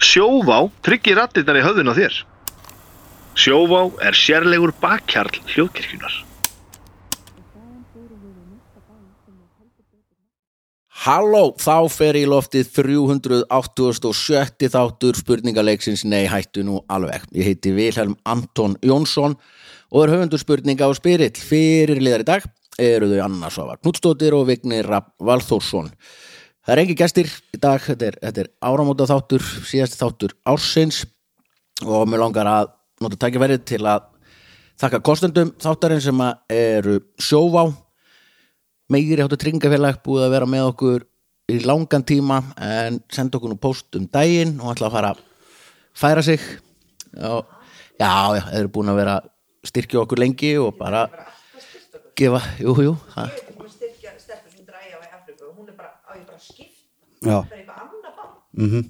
Sjóvá tryggir rattirnar í höfðun á þér. Sjóvá er sérlegur bakkjarl hljóðkirkjunar. Halló, þá fer í loftið 387. þáttur spurningaleiksins Nei, hættu nú alveg. Ég heiti Vilhelm Anton Jónsson og er höfundur spurninga á spyrill. Fyrirliðar í dag eru þau Anna Svavar Knutstóttir og Vignir Rapp Valþórsson. Það er engi gestir í dag, þetta er, þetta er áramóta þáttur, síðasti þáttur ársins og mér langar að nota tækifærið til að þakka kostendum þáttarinn sem að eru sjóvá meiri áttu tryggingafélag búið að vera með okkur í langan tíma en senda okkur nú post um daginn og ætla að fara að færa sig og, já, já, þeir eru búin að vera að styrkja okkur lengi og bara gefa, jú, jú það, ég er búin að styrkja stelpur sem dræja í Afriku og hún er bara, á ég bara að skipta Já, það er eitthvað annað bann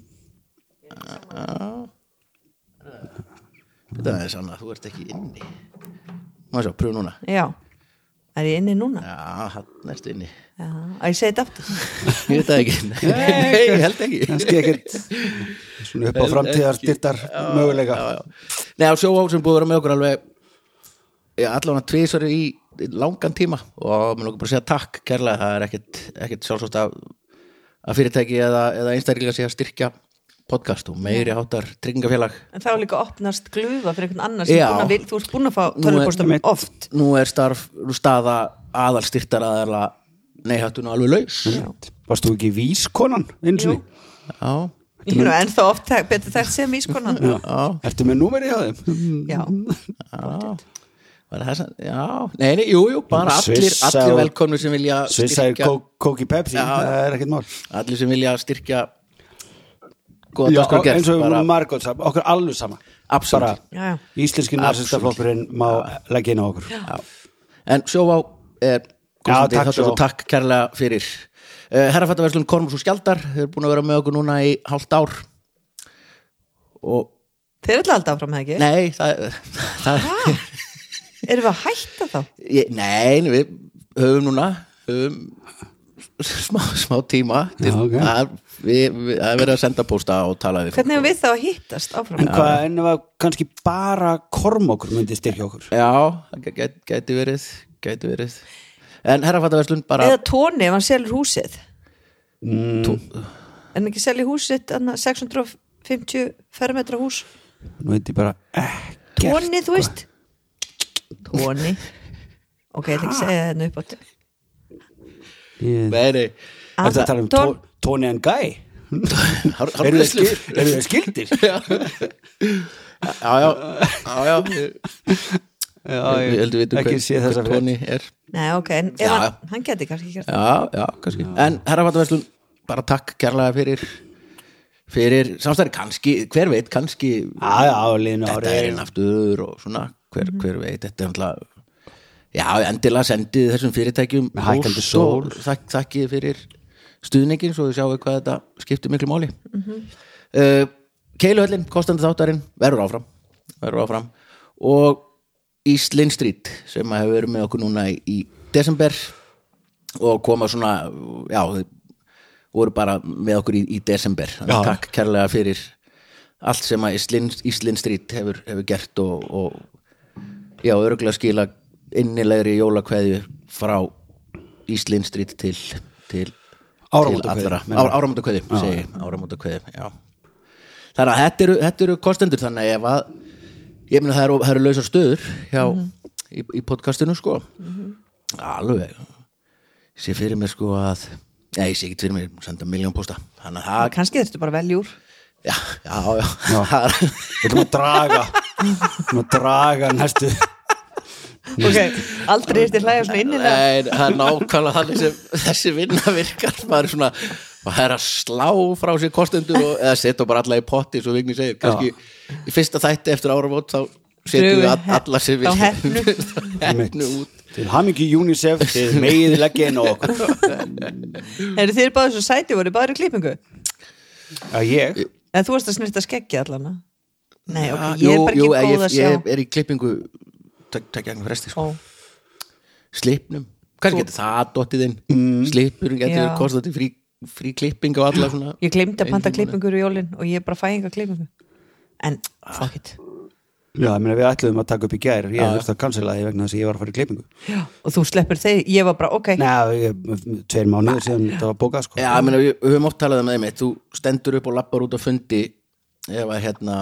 þetta er sann að þú ert ekki inni má svo, pröfu núna já, er ég inni núna já, já, hann erstu inni að ég segi þetta aftur ég veit það ekki, nei, ég held ekki kannski ekkert svona upp á framtíðar styrtar möguleika já, já. Nei, á sjóvá sem búið að vera með okkur alveg já, allan að tvisari í í langan tíma og mér lókum bara að segja takk kærlega, það er ekkit, ekkit sjálfsagt að, að fyrirtæki eða, eða einstaklega sé að styrkja podcast og meiri hátar tryggingafélag en þá líka opnast glufa fyrir einhvern annar sem Já. búin að vil, þú ert búin að fá Nú er- tölvupostum einmitt. oft Nú er starf nú staða aðalstyrtar aðala neihættuna alveg laus Já, Varst þú ekki vískonan eins og já, ég er ennþá oft þek- betur þekkt sem ískonan já, Ertu með númerið hjá þeim? já. var það sem, já Nei, nei, jú, jú, bara allir, Svissa allir og- velkomni sem vilja Svissa er styrkja kók, kóki pepsi, það er ekkert mál allir sem vilja styrkja góða Já, dagskrá eins sko gert og bara, bara... Margot sagði, okkur alveg sama Absolutt. bara, Já, já. Íslenski narsistaflokkurinn má leggja inn á okkur Já, en sjóvá er kostandi, Já, takk, þá tökum Sjóvá. takk kærlega fyrir uh, herrafattaverslun Kormus og Skjaldar þau eru búin að vera með okkur núna í hálft ár og þeir ætla alltaf áfram eða ekki nei það, það erum við að hætta þá ég, nei, við höfum núna höfum smá, smá tíma til, Já, ok. að, við, við, að vera að senda pósta og tala við hvernig hefur við þá að hittast áfram En hvað ennum að kannski bara kormokur myndi styrkja okkur já, það gæ- gæ- gæti verið gæti verið en herrafattaverslun bara eða tóni ef hann selur húsið en ekki selja húsið annað 650 fermetra hús Nú veit ég bara ekkert Tóni, þú veist Tóni Ok, ég ætla ekki að segja þetta upp átt Ég- nei, nei Ah, Er það að tala um Anton. Tó- Tony and Guy? Hár- Eru hárgreiðslur. þeir skil- eru þeir skildir? já, já, já, já. Við- við heldur vitum ekki hver- sé þessa hver frétt Tony er Nei, ok, en ef Já, hann, já. hann geti kannski gert já, já, kannski en herrafattarverslun, bara takk kærlega fyrir fyrir samstæri kannski, hver veit, kannski Já, já, á liðinu þetta ári er einn aftur og svona hver, hver veit, þetta er náttúrulega já, endilega sendið þessum fyrirtækjum Með hækkandi póst sól. og þak, þakkið fyrir stuðningin svo við sjáum hvað þetta skiptir miklu máli mm uh, Keiluhöllin, kostandi þáttarinn verður áfram, verður áfram og East Lynn Street sem að hefur verið með okkur núna í, í desember og koma svona, já þau voru bara með okkur í, í desember Já. Þannig takk kærlega fyrir allt sem að Íslinn Íslin Street hefur, hefur gert og, og já, örgulega skila innilegri jólakveðju frá Íslinn Street til, til, til Áramótakveðju, allra meinar Á- áramótakveðju, segi ég, áramótakveðju, já þannig að þetta eru, þetta eru kostendur þannig ef að ég meina það eru, það eru lausar stöður hjá, Mhm. í, í podcastinu sko alveg Ég sé fyrir mér sko að nei, ég sé ekki fyrir mér, senda miljón posta þannig að það, Kannski þurftu bara að velja úr já, já, já, það er- Við ætlum að draga Við ætlum að draga næstu Ok, aldrei eftir hlæja svona innilega Nei, það er nákvæmlega þannig sem þessi vinna virkar maður er svona, maður er að slá frá sér kostendur og eða setja bara alla í potti svo Vigni segir, kannski í fyrsta þætti eftir áramót þá setjum Drögum við he- all- alla sem þá við hefnu. hefnu út Til hamingi UNICEF Þið megið leggja inn á okkur Eru þið báðu svo sæti, voru báður í klippingu? Að ég En þú varst að snurta skeggi allan að? Nei, ok, Jú, ég er bara jú, ekki góð að sjá ég, ég er í klippingu takk gegn fresti sko. Ó, slipnum, kannski getur það dottið inn mm. slipur getur Já. kostandi frí frí klipping og alla svona Ég glemdi að panta klippingur í jólin og ég bara fæ enga klippingu En, fuck it Já, ég meina við ætluðum að taka upp í gær Já, Ég já. þurfti að cancela því vegna þess að ég var að fara í klippingu Já, og þú sleppur þeir, ég var bara, ok Nei, ég- tveir mánuðir síðan þetta var bókað sko Já, ég meina, við við höfum oft talað um það einmitt, þú stendur upp og lappar út á fundi ef að hérna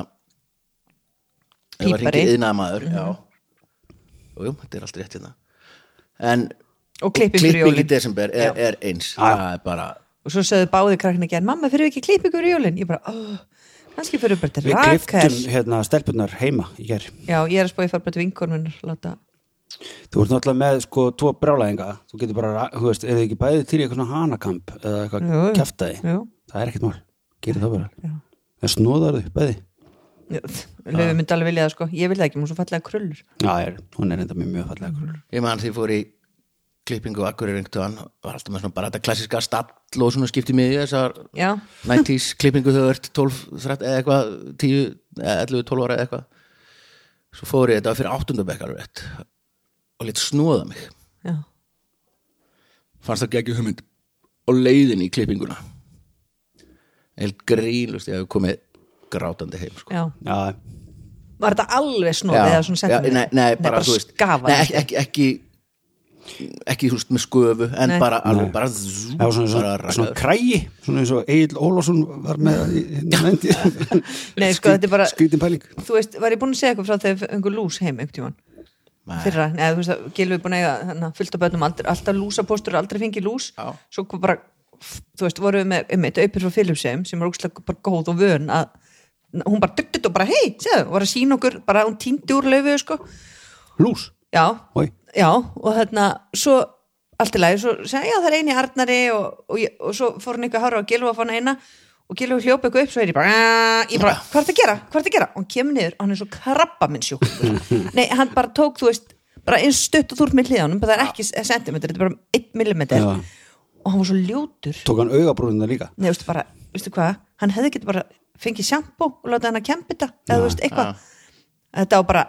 ef að Pípari. Mhm. hringi yðnaðamaður mm -hmm. já, jú, jú, þetta er allt rétt hérna en Og klippingur í klipping í jólin. desember er, er eins það er bara, Og svo sögðu báði krakkinn ekki, en mamma, fyrir við ekki klippingur í jólin Ég bara, oh, kannski fyrir við bara til Við Rakel kliftum hérna stelpunar heima í gær Já, ég er að spóið fara bara til vinkorminur Láta, Þú ert náttúrulega með sko tvo brálaðinga Þú getur bara, þú veist, er þið ekki bæðið til í eitthvað svona hanakamp eða Jú, eitthvað jú. kjaftaði jú, Það er ekkert mál, gerir það bara já Það snóðar þau, bæði Löfi myndi alveg vilja það sko, ég vil það ekki, múið svo fallega krullur sko. Já, er, hún er enda mjög mjög fallega krúl ég man því fór í klippingu og akkur er einhvern tíðan var alltaf með svona bara þetta klassiska stall og svona skipti miðju þessar Já, 90s klippingu þegar þú ert 12, 13 eða eitthvað 10, eða 11, 12 ára eða eitthvað svo fór ég þetta var fyrir áttundabekk alveg rétt og létt snúða mig já, fannst það ekki hugmynd og leiðin í klippinguna heilt grínlust ég hef komið grátandi heim sko. já Já, Var þetta alveg snóð eða svona já, settum nei, nei, bara, þú veist skafa nei, ekki, ekki, ekki ekki húst með sköfu en Nei. bara alveg Nei. bara, zzz, það var svona, bara svona, svona rakaður. krægi svona eins og Egil Ólásson var með í- hérna lendi Nei, sko, þetta er bara- Skrítin pæling Þú veist, var ég búin að segja eitthvað frá þegar við fengum lús heim einhvern tímann Nei. fyrra, neða þú veist að Gilvi er búin að eiga hana, fyllt á bönnum aldrei, alltaf lúsapostur aldrei fengið lús, Já. svo kom bara þú veist, vorum við með, um eitt auðvitað frá Philipsheim sem er ógstlega bara góð og vön að hún bara duttut og bara hei, séðu, var að sína okkur bara hún týndi úr laufu, sko Lús, já, oi, já, og þarna svo, allt í lagi, svo segja, já það er eini Arnari og, og, ég, og svo fór hún eitthvað að horfa á Gilvi að fá hana eina og Gilvi hljópa eitthvað upp, svo er ég bara, "Ah," ég bara hvað er að gera, hvað er að gera, og hann kemur niður og hann er svo krabba minn nei, hann bara tók, þú veist, bara eins stutt og þú ert með hliðanum, bara það er ekki sentimeter þetta er bara einn millimeter Já. og hann var svo ljótur tók hann augabrúnina líka Nei, veistu bara, veistu hvað, hann hefði getið bara fengið sjampó og láta hann að kempi þetta eða þú veist eitthvað þetta var bara,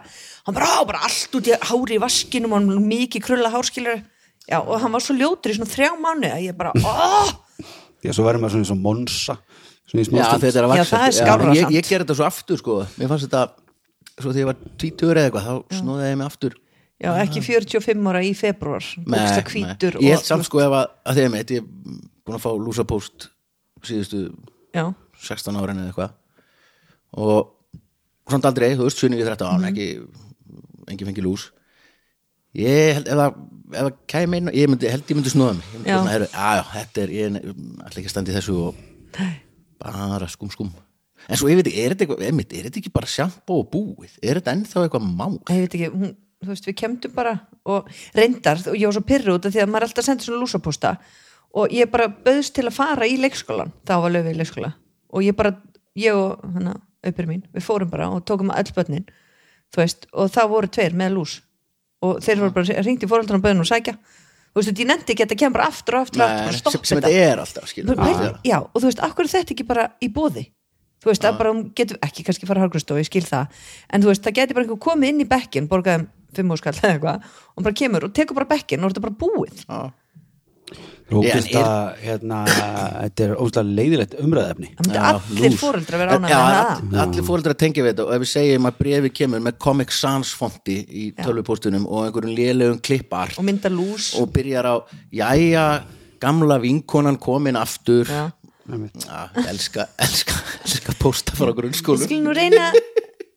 hann bara, á, bara allt út í hári í vaskinum og hann mikið krulla hárskilur já, og hann var svo ljótur í svona þrjá mánu að ég bara, óh því að svo verðum maður svona eins og Monsa svona í Já, smástund þegar þetta Já, vaxandi. það er skárra ég, samt. ég gerði þetta svo aftur sko Mér fannst þetta Svo þegar ég var tvítur eða eitthvað Þá snóðið ég mig aftur já, ekki 45 ára í februar bóksta hvítur Ég held og, samt sko ef að, að þegar mitt Ég er búin að fá lúsapóst Síðustu já, 16 árin eða eitthvað Og Svona aldrei, þú veist, sunni við þetta Mhm. án Ekki, engin fengi lús Ég held ef að ef að kæmi inn, ég myndi, held ég myndi snúða mig ég myndi Já. svona, heru, já, já, þetta er, ég ætla ekki að standa í þessu og bara skum skum en svo ég veit ekki, er þetta eitthvað, einmitt, er þetta ekki bara sjampó og búið, er þetta ennþá eitthvað mál ég veit ekki, hún, þú veist, við kemdum bara og reyndar, og ég var svo pyrru út af því að maður er alltaf sendur svona lúsapósta og ég bara böðst til að fara í leikskólan þá var löfi í leikskóla og ég bara, ég og hana, uppir mín við fórum bara og tókum öll börnin þú veist, og það voru tveir með lús og þeir voru bara, ringdi fóröldunum böðin og sækja, þú veist, ég nefndi ekki að þetta kemur bara aftur og aftur og aftur, Nei, bara sem, stopp sem þetta er alltaf skilur Þú pælir- já, og þú veist, akkur er þetta ekki bara í bóði þú veist, það bara hún getur ekki kannski fara hárgrunnstofu, ég skil það, en þú veist, það getur bara einhver komið inn í bekkin, borgaðum fimm úrskall eða eitthvað, og bara kemur og tekur bara bekkin og er þetta bara búið Já. Rókist Já, en er- að hérna, þetta er óslega leiðilegt umræðefni það myndi Já, allir lús. fóreldra vera ánægð Já, með all- það allir fóreldrar tengja við þetta og ef við segjum að brefi kemur með Comic Sans fonti í tölvupóstunum og einhverjum lélegum klippart og mynda lús og byrjar á jæja, gamla vinkonan komin aftur Já. Já, elska, elska, elska pósta frá við grunnskólu skil nú reyna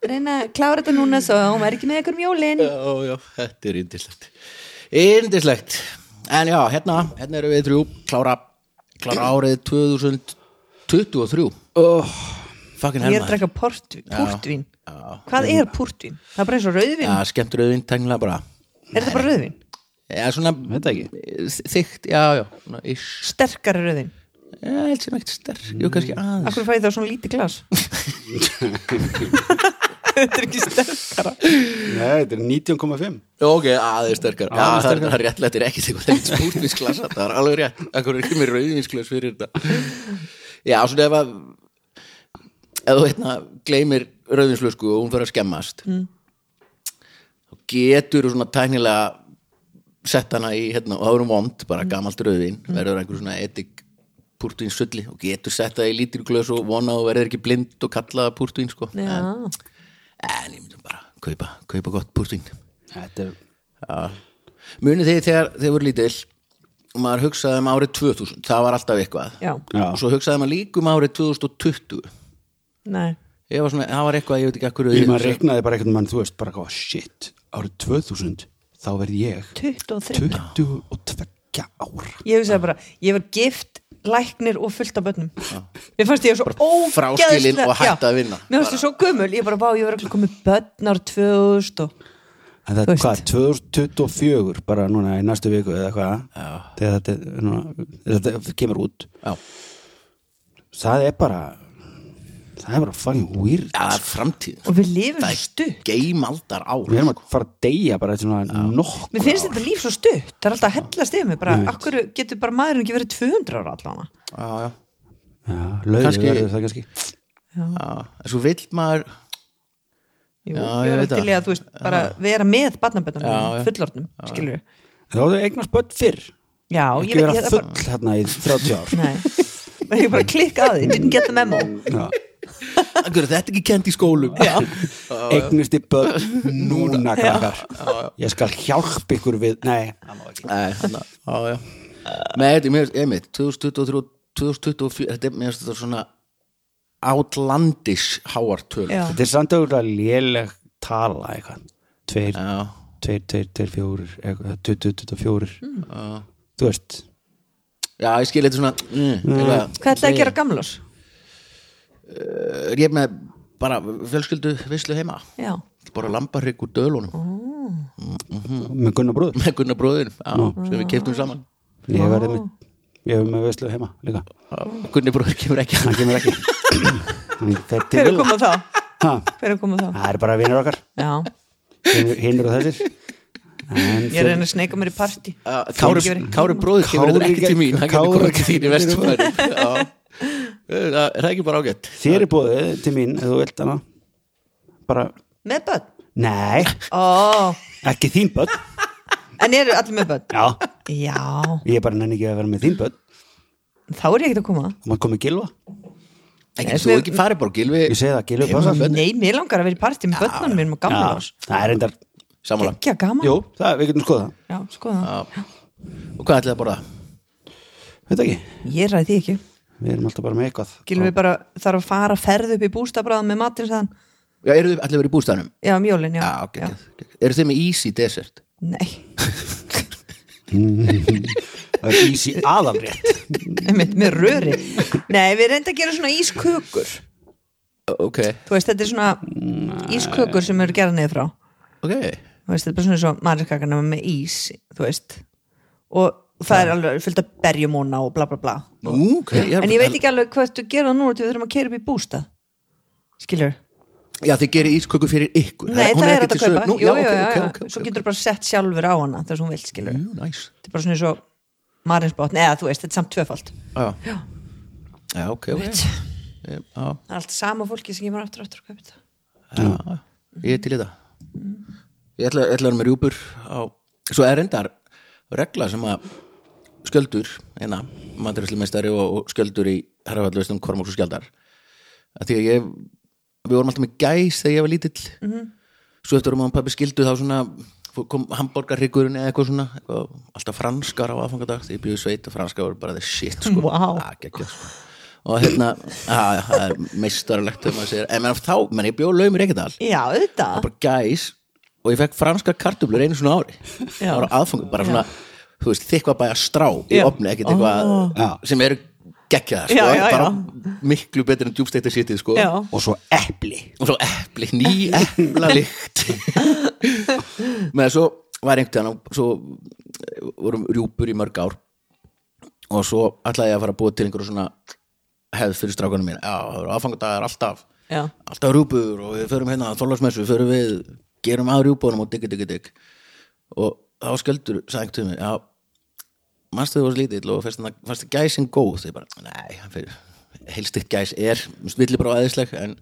reyna að klára þetta núna svo að hún er ekki með ykkur um jólin Já, já, þetta er yndislegt Yndislegt En já, hérna, hérna erum við þrjú Klára, klára árið 2023 oh, Fucking ég er að helma draka port, portvín hvað er portvín? það er bara eins og rauðvín, Já, skemmt rauðin tengla bara er þetta bara rauðvín? Já, svona Veit það ekki. Þygt, já, já svona, ish. Mm. sterkari rauðvín, Já, held sem ekkert sterk Jú, kannski aðeins akkur fæ ég þá svona lítið glas þetta er ekki sterkara Nei, þetta er 19,5 Já, Ok, aðeins sterkar Já, Aðeins það er- það er réttlega, þetta er ekkert eitthvað Þetta er spúrtvinsklasa, það er alveg rétt Akkur er ekki með rauðvinsklaus fyrir þetta Já, svona ef að ef þú hérna gleymir rauðvinslösku og hún fyrir að skemmast mm. þá getur þú svona tæknilega sett hana í hérna, og það verður vond, bara gamalt rauðvin verður einhver svona etik púrtvín sulli og getur sett það í lítir glös og vona og verður ekki blind og kalla það púrtvín sko. Já, en, en ég myndi bara kaupa, kaupa gott púrtvín Þetta er munið þegar þegar þeir voru lítil og maður hugsaði um árið 2000 það var alltaf eitthvað já, Já. og svo hugsaði maður líka um árið 2020 nei ég var svona, það var eitthvað, ég veit ekki akkur Ég maður regnaði bara einhvern mann, þú veist, bara hvað, shit, árið 2000, þá verð ég 23 22 ára. Ég hugsaði bara, ég var gift læknir og fullt af börnum Mér fannst ég svo ógeðslega fráskilin og hætt Já, að vinna. Mér fannst ég svo gömul, ég bara bá, ég var ekki komið börn ár 2000 og En það Þú er veist. hvað, 2024, bara núna í næstu viku eða hvað, þegar þetta, er núna, þetta kemur út. Já. Það er bara, það er bara fucking weird. ja, framtíð og við lifum Það er stutt geimaldar ár Við erum að fara að deyja bara eftir svona nokkur. Mér finnst þetta líf svo stutt, það er alltaf að hellast yfir mig bara, akkur getur bara maðurinn ekki verið 200 ára allan já, já. Já, lögðu Kannski- verður það kannski. Já, en svo vill maður Jú, Já, ég ég var veit eftir það. liða, þú veist, bara vera með Já, barnaböndunum, já. fullorðnum, skilur við Þá er það eignast börn fyrr. Já, ég Ekki veit, vera ég það bara full hérna í 30 ár. Nei, ég bara klikka að því, didn't get the memo Akkur, þetta er ekki kent í skólum já. eignist í börn núna krakkar ég skal hjálpa ykkur við nei, Nei, hana, á, já. Nei, þetta er mér, einmitt 2023, 2024 þetta er mér finnst þetta svona outlandish háartölu Já. þetta er samt auðvitað léleg tala eitthvað tveir, já, tveir, tveir, tveir, fjórir eitthvað, 20, 24 þú veist Já, ég skil þetta svona mm, eitthvað. Hvað ætlaði að gera gamlás? Er ég með bara fjölskyldu vislu heima Já, bara lambarrygg úr dölunum Mm. með Gunnar bróður með Gunnar bróðinum já, sem við Mm. keftum saman ég verði með, ég verði með veislu heima líka Gunni bróður kemur ekki hann kemur ekki Hann fer til hver er Villa. komað þá? Ha, Hver er komað þá? það er bara vinur okkar Já, Hinir- hinir og þessir En ég er að reyna að sneika mér í partí Kári, Kári bróður kemur þetta Kári ekki til mín hann Kári- kemur bara ekki þín í vestumæri það er ekki bara ágætt þér er bóðið til mín ef þú vilt hana bara, Með börn? nei, Ó, ekki þín börn en eru allir með börn? Já, Já, ég bara nenni ekki að vera með þín börn Þú þá er ég ekkert að koma maður komið gilva ekki, þú ekki farið bara á gilvi Ég segi það, Gylfi Heima passar. með börn. Nei, mér langar að vera í partí með börnunum mínum og gamlás það er reyndar sammála Ekki að gaman Jú, það, við getum skoða Já, skoða Já. og hvað ætlaði að borða? Veit ekki, Ég ræði því ekki við erum alltaf bara með eitthvað Gilvi bara þarf að fara ferð upp í bústabráðum með matinn sann já, eru þið allir verið í bústæðanum? Já, mjólin, já, já, ok, ok eru þið með easy dessert? Nei, Það er ísi aðalrétt einmitt með röri Nei, við reynda að gera svona ískökur ok, Þú veist, þetta er svona ískökur sem eru gerða niður frá ok Þú veist, þetta er bara svona svo marinskakana með ís Þú veist Og það er alveg fullt af berjumóna og bla bla bla Nú, ok, já, En ég veit ekki alveg hvað þú gerða núna til við þurfum að keira upp í bústað Skilur já, þið gerir ísköku fyrir ykkur Nei, Hún það ekki er hægt að til sölu. kaupa Nú, jú, já, jú, ok, já, ok, já. ok, ok, Mm. Svo ok. getur bara sett sjálfur á hana þar sem hún vil skilur Jú, nice. Þetta er bara svona eins og marinsbótn eða þú veist, þetta er samt tvöfald Já. Já, ok, ok. Ég- já, Það er allt sama fólki sem kemur aftur og aftur að kaupa þetta já, ég er til í það ég ætla, ég ætla að vera með rjúpur á, svo er reyndar regla sem að skjöldur hérna, mandurislumestari og, og skjöldur í herrafallustum Kormáks og skjaldar að því að ég við vorum alltaf með gæs þegar ég var lítill svo eftir vorum að pappi skildu þá svona fór- kom hambúrgarryggurinn eða eitthvað svona eitthvað, alltaf franskar á aðfangadag þegar ég bjóði sveit og franskar voru bara the shit sko. Vá. Ah, geggjað, sko. og hérna að, það er meistarlegt þegar maður segir en menn, þá, menn ég bjóði laumir ekkert all Já, var auðvitað bara gæs og ég fekk franskar kartöflur einu svona ári Já. það var aðfangur, bara svona þú veist, þykva bæja strá í Já. opni ekkert eitthvað Já. sem eru geggjaðar sko, Já, já, bara já. miklu betur en djúbsteikta sítið sko. Já, Og svo epli og svo epli, ný eplalikt með svo var einhvern veginn svo eh, vorum rjúpur í mörg ár og svo ætlaði ég að fara að búa til einhverju svona hefð fyrir strákanum mín já, það eru aðfangadagar alltaf Já. alltaf rjúpur og við förum hérna að þólasmessu, við förum við gerum að rjúpunum og digg, digg, digg og þá sköldur sagði einhvern veginn já, mannstu þú varst lítill og fannst þarna- fannst þið gæsin góð þegar bara, nei, hann fyrir heilstitt gæs er, villi bara aðeinsleg en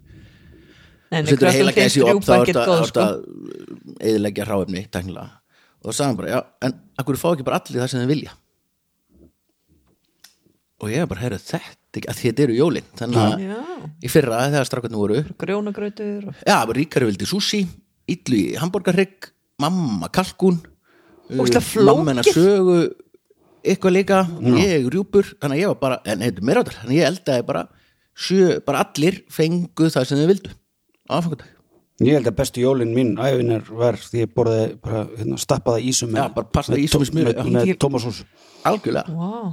en Þú setur heila gæs í upp þá er get góð þetta sko eðilegja hráefni tæknilega og það sagði hann bara, já, en akkur fá ekki bara allir það sem þið vilja og ég er bara, heyrðu þetta ekki, að þetta eru jólin þannig að Já. í fyrra þegar strákarnir voru grjónagrautur og, já, bara ríkari vildi sushi, illu í hamburgarrygg mamma kalkun Ógeðslega mamma flókið. sögu eitthvað líka, ég rjúpur þannig að ég var bara, en heitum meira áttar þannig að ég eldaði bara, sjö, bara allir fengu það sem þau vildu á aðfangadag, Ég held að bestu jólin mín æfinar var því ég borði bara hérna, stappaða ísum með, Já, bara pasta með, ýsu með smjöri, með, já. með tómasús algjörlega wow.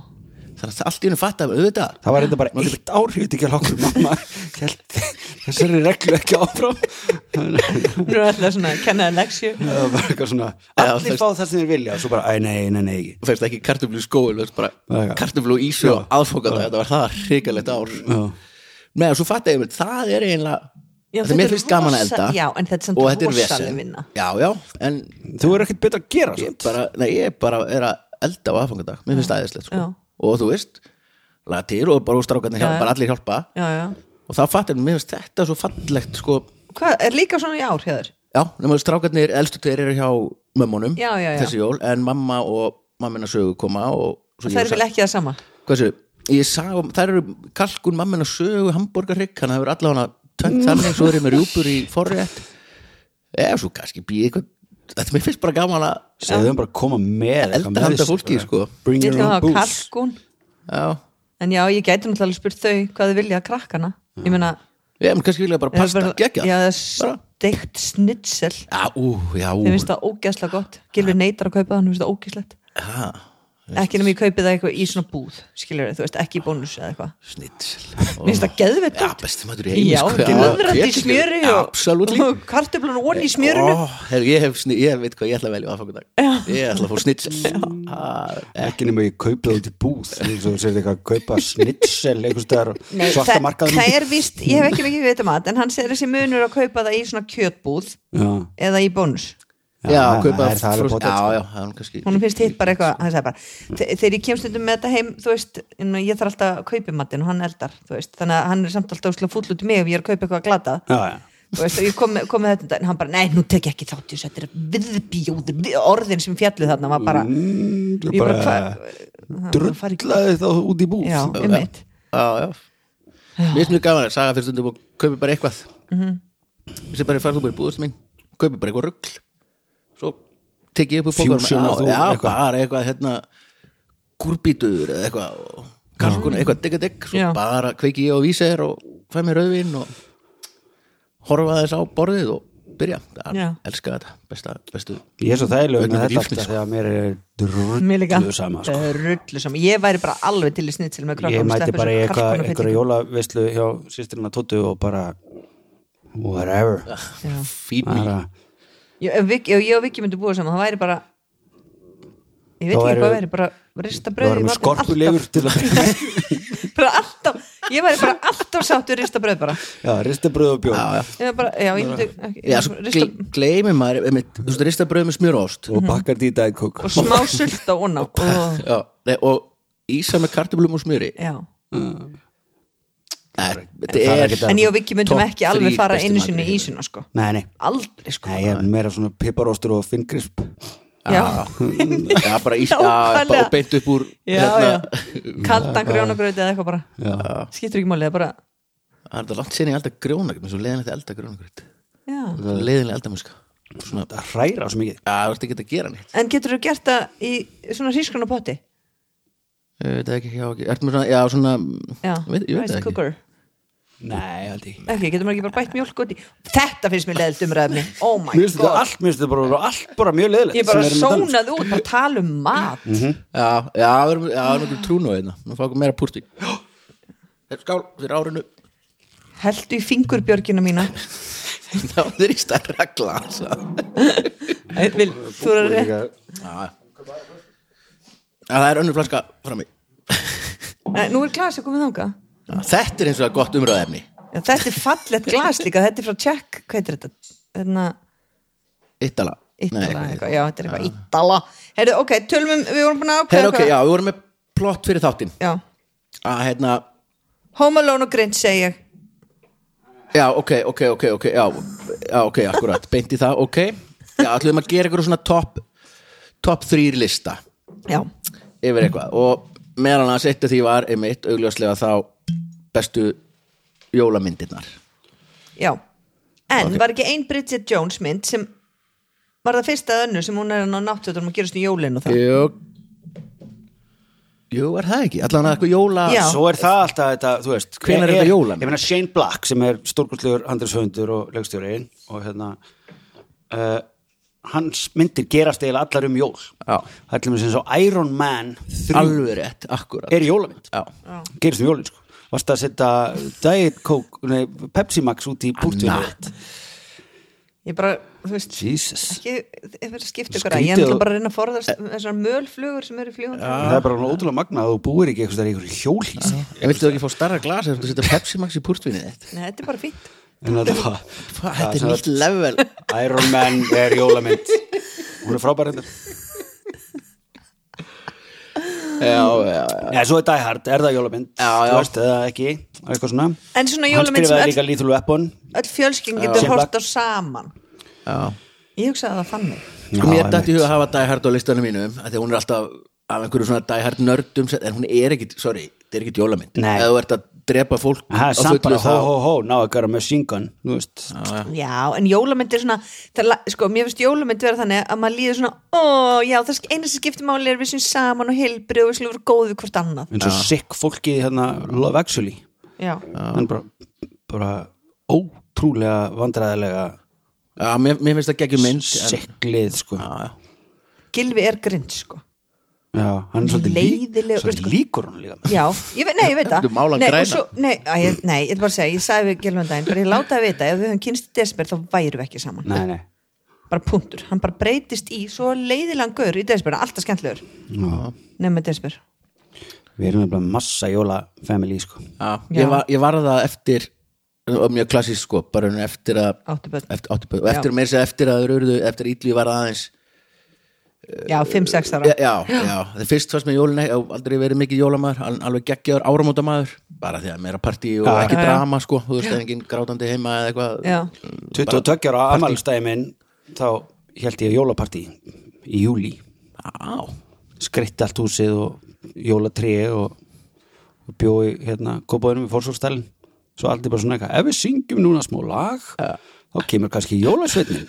þannig að það allt í henni fatt að auðvitað Það var þetta bara eitt ár, ég veit ekki alveg okkur mamma held þessari reglu ekki áfram það Nú er alltaf svona, kennaði leksju var bara eitthvað svona Já, allir þess- fá það sem þeir vilja og svo bara, æ, nei, nei, nei, ekki og fegst ekki kartöflu í skói Já, já. bara kartöflu og ísu og aðfokaða þetta var það hrikalegt ár með að svo fatt að það er eiginlega Já, þetta þetta er mér er finnst gaman að rosa- elda já, en þetta er samt og þetta er rosaleg vesen. vinna. já, já, en Þú er ekkert betur að gera ég svona bara, nei, ég bara er að elda á aðfangadag, mér finnst það aðeinslegt sko. Já. og þú veist, laga til og bara strákarnir hjálpa, Já, já. bara allir hjálpa já, já. og það fatt að mér finnst þetta svo fallegt sko, Hvað, er líka svona í ár hér? já, nema að strákarnir elstu tveir eru hjá mömmunum Já, já, já. þessi jól, en mamma og mammina sögu koma og svo Það ég er vel ekki það sama hversu, ég sá, þær eru kalkun mammina sögu hambúrgarrygg hann hefur allavega tönt þannig svo er ég með rjúpur í forrétt eða svo kannski býð eitthvað þetta mér finnst bara gaman að Segðum bara að koma með Elda handa fólki, sko. Bring Ég your ætla own að hafa booze kalkun já, En já, ég gæti náttúrulega alveg spurt þau hvað þau vilja að krakkana Ég meina ég mun kannski vilja bara pasta, gegja Já, það er Bara. steikt snitsel já, ú, já, ú Þeim finnst það ógeðslega gott Gilvi neytar að kaupa það, hann finnst það ógeðslegt ha, Ekki nema ég kaupi það eitthvað í svona búð Skilur þú veist, ekki í bónus eða eitthvað snitsel Mér finnst það geðvett já, út. besti matur í heimi Já, sko, glöðrandi í ég- smjöri absolutt og kartöflun og onni í smjörinu ég, hef sni- ég veit hvað ég ætla að velja á aðfangadag ég ætla að fá snitsel Ekki nema ég kaupi það út í búð eins og þú segir eitthvað að kaupa snitsel einhvers staðar á Nei, svarta það, markaðum það er víst, ég hef ekki mikið veit um að en hann segir þessi munur að kaupa það í svona kjötbúð Já, eða í bónus já, kaupa það er það alveg sko. frost- bóta já, já, það er nú kannski hún finnst hitt bara eitthvað hann sagði bara, "Þe- þegar ég kemst stundum með þetta heim þú veist, en ég þarf alltaf að kaupa matinn og hann eldar, þú veist, þannig að hann er samt alltaf úslega fúll út í mig ef ég er að kaupa eitthvað glatað Já, já þú veist, og ég kom, með- kom með þetta en hann bara, nei, nú tek ég ekki þátt í þessu, þetta er viðbjóður, við, orðin sem fjallu þarna var bara, Mm, ég bara, bara hvað drullaði þá út í búð já, um mitt já, já. Mér finnst mjög gaman að saga fyrir stundum og kaupi bara eitthvað mm Mhm. -hmm. Ég sé bara, farðu bara í búðast mín kaupi bara eitthvað rugl svo tek ég upp úr bókarum Fusion og þú- já, eitthvað. bara eitthvað hérna gúrbítur eða eitthvað og kalkun, eitthvað digga digg svo Já. bara kveiki ég á vísir og fæ mér rauðvin og horfa þess á borðið og byrja það, Já. elska þetta, besta, bestu Ég er svo þægilega Vegna með þetta lífs míns, alltaf þegar mér er Mér líka. drullu sama sko. Rullu sama. Ég væri bara alveg til í snitsel með krökkum Ég mæti bara í eitthvað- einhverja jólavislu hjá sýstirna Tóttu og bara whatever fín bara, Ég ef Vik- ef ég og Viki myndi búa saman, það væri bara Ég veit Þá ekki væri- hvað væri, bara rista Það var brauð í með matinn skorpulegur til að alltaf, bara alltaf, ég væri bara alltaf sáttu rista brauð bara Já, ristabröð og bjóð já, já. Ég væri bara, já, ég myndi ekki, Já, sko, svo rista, gle- gleymir maður, einmitt, þú veist, ristabröð með smjöróst og bakkar því Diet Coke og smá sult á onna og, Já, nei, og ísa með kartöflum og smjöri já. Nei, En það Þetta er er ekkert að- En ég og Viki myndum Topp ekki alveg þrír fara bestu einu matur sinni í í heimi. sinna sko Nei, nei, Aldrei sko nei, ég er meira svona piparóstur og finngrisp Já, Ah. Já, bara ís, já, Nákvæmlega. bara- og beint upp úr hérna. já, já Kaldan grjónagröð eða eitthvað bara Já. Skiptur ekki máli, það er bara Það er þetta langt sinni alltaf grjónagrit Mér er svo leiðinlegt að elda grjónagrit Já. Leiðinlega eldamennska Svona, Það hræra svo mikið já, þú ert ekki að gera neitt En getur þú gert það í svona hrískrona potti? Eh, Þetta er ekki, já, ekki Ertu með svona, já, svona Já, ég veit, ég veit rice það ekki cooker Nei, held ég Ekki, getur maður ekki bara bætt mjólk út í Þetta finnst mér leðilt umræðni Oh my Mér finnst þetta god allt, mér finnst þetta bara, allt bara mjög leðilegt Ég bara sónaði út að tala um mat Já, já, við erum, já, við erum ekki trúnu einna Nú fá okkur meira púrti Þetta er skál fyrir árinu Heltu í fingurbjörgina mína Þá er í stærra glasa Æ, vil, Þú er að reyna Já, það er önnur flaska frammi Nú er glas að komið þanga Já, Þetta er eins og að gott umröðefni Já, Þetta er fallegt glas líka Þetta er frá Tjekk Hvað heitir þetta? Þarna Ítala Ítala eitthvað Já, þetta er eitthvað Ítala Herðu, ok, tölum um Við vorum búin að ákveða Herra, ok, já, við vorum með plott fyrir þáttinn já að hérna, Home Alone og Grinch segi ég já, ok, ok, ok, ok já, já, ok, akkurat, beint í það, ok já, ætlum að gera eitthvað svona top top 3 lista Já yfir eitthvað og meðan að setja því var einmitt augljóslega þá bestu jólamyndirnar Já, en var ekki ein Bridget Jones mynd sem var það fyrsta að önnu sem hún er að ná náttöðum að gerast í jólin og það Jú Jú, er það ekki? Allan að eitthvað jóla Já. Svo er það alltaf þetta, þú veist Hvenær er ég- þetta jólan? Ég meina Shane Black sem er stórkustlegur handriðshöfundur og lögstjóriðin og hérna uh, hans myndir gerast eiginlega allar um jól Já. Það er til mér sem svo Iron Man 3 alveg rétt, akkurat er jólamynd Já. gerist um jólin sko varst að setja Diet Coke, nei, Pepsi Max út í Ah, búrtjónu Ég bara, þú veist, Jesus ekki þið verður að skipta ykkur að ég Skrítið ætla og- bara að reyna að forðast þessar mölflugur sem eru í flugun Það er bara svona ótrúlega magnað að þú búir ekki eitthvað í einhverju hjólhísi En viltu ekki fá starra glas ef þú setja Pepsi Max í púrtvinnið þitt? Nei, þetta er bara fínt en þetta var Hvað, það þetta sem er nýtt level sagt, Iron Man er jólamynd hún er frábær hérna. hendur Já, já, Nei, svo er Die Hard, er það jólamynd Já, já. þú veist, eða ekki, eitthvað svona En svona hann jólamynd sem skrifaði öll, líka Lethal Weapon öll fjölskyldin Sem getur hort á black- saman já. Ég hugsaði það þannig Sko mér Já, dætti hug að hafa Die Hard á listanum mínum af því að hún er alltaf af einhverju svona Die Hard nördum sem- en hún er ekkit, sorry, þetta er ekkit jólamynd Nei. ef þú ert að drepa fólk það er á samt fullu bara þá hó hó hó ná að gera machine gun þú veist Já, en jólamynd er svona það, la- sko, mér finnst jólamynd vera þannig að maður líður svona ó, já, það er eina sem skiptir máli er við sem saman og heilbrið og við slum vera góð við hvort annað eins og sick fólkið í hérna Love Actually Já, en bara, bara ótrúlega vandræðilega Já, mér, mér finnst það geggjum mynd en- sicklið sko já, Gilvi er grind, sko hann er svolítið, Leiðilegur, svolítið veistu hvað- líkur hann líka Já, ég veit, nei, ég veit það Þú um málan nei, og grænan. svo, nei, að, ég, nei, ég er bara að segja, ég sagði við Gilvi um daginn bara ég láta að vita, ef við höfum kynst í desber þá væru við ekki saman nei, nei bara punktur, hann bara breytist í svo leiðilegan gaur í desber, alltaf skemmtlegur Já. nema desber við erum nefnilega massa jóla family sko Já, ég, var, ég var það eftir og mjög klassísk sko, bara en eftir að Áttu börn. eftir, áttu börn. og eftir meir sér eftir að þeir urðu eftir að Ítli var aðeins Eh, Já, 5-6 ára já, já, já, þeir fyrst fannst með jólin og aldrei verið mikið jólamaður, al- alveg geggjaður áramótamaður, bara því að meira partí og Já, ekki já. drama sko, þú veist, engin grátandi heima eða eitthvað Já. 22 ára amalstæði minn þá held ég jólapartí í júli Já, skreitt allt húsið og jólatrið og, og bjói hérna kópaðunum í fórsvöldstælin svo allt er bara svona eitthvað ef við syngjum núna smá lag þá kemur kannski jólasveitnin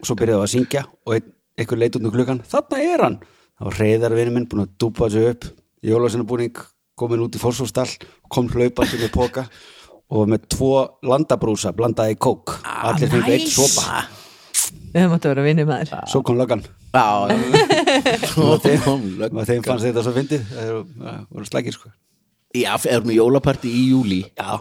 og svo byrjaðu að syngja og ein, einhver leit út um klukkan þarna er hann þá var reyðarvinni minn búin að dúpa þessu upp jólasveinabúning komin út í fórsvöldstall kom hlaupandi með póka og var með tvo landabrúsa blandaði kók allir fengur eitt Ah, nice. sopa Ah. Við höfum átt að vera vinni maður svo kom löggan já og þeim, Löggan. og þeim fannst þetta svo fyndið þeir voru slækir sko Já, ef erum við jólapartí í júli já,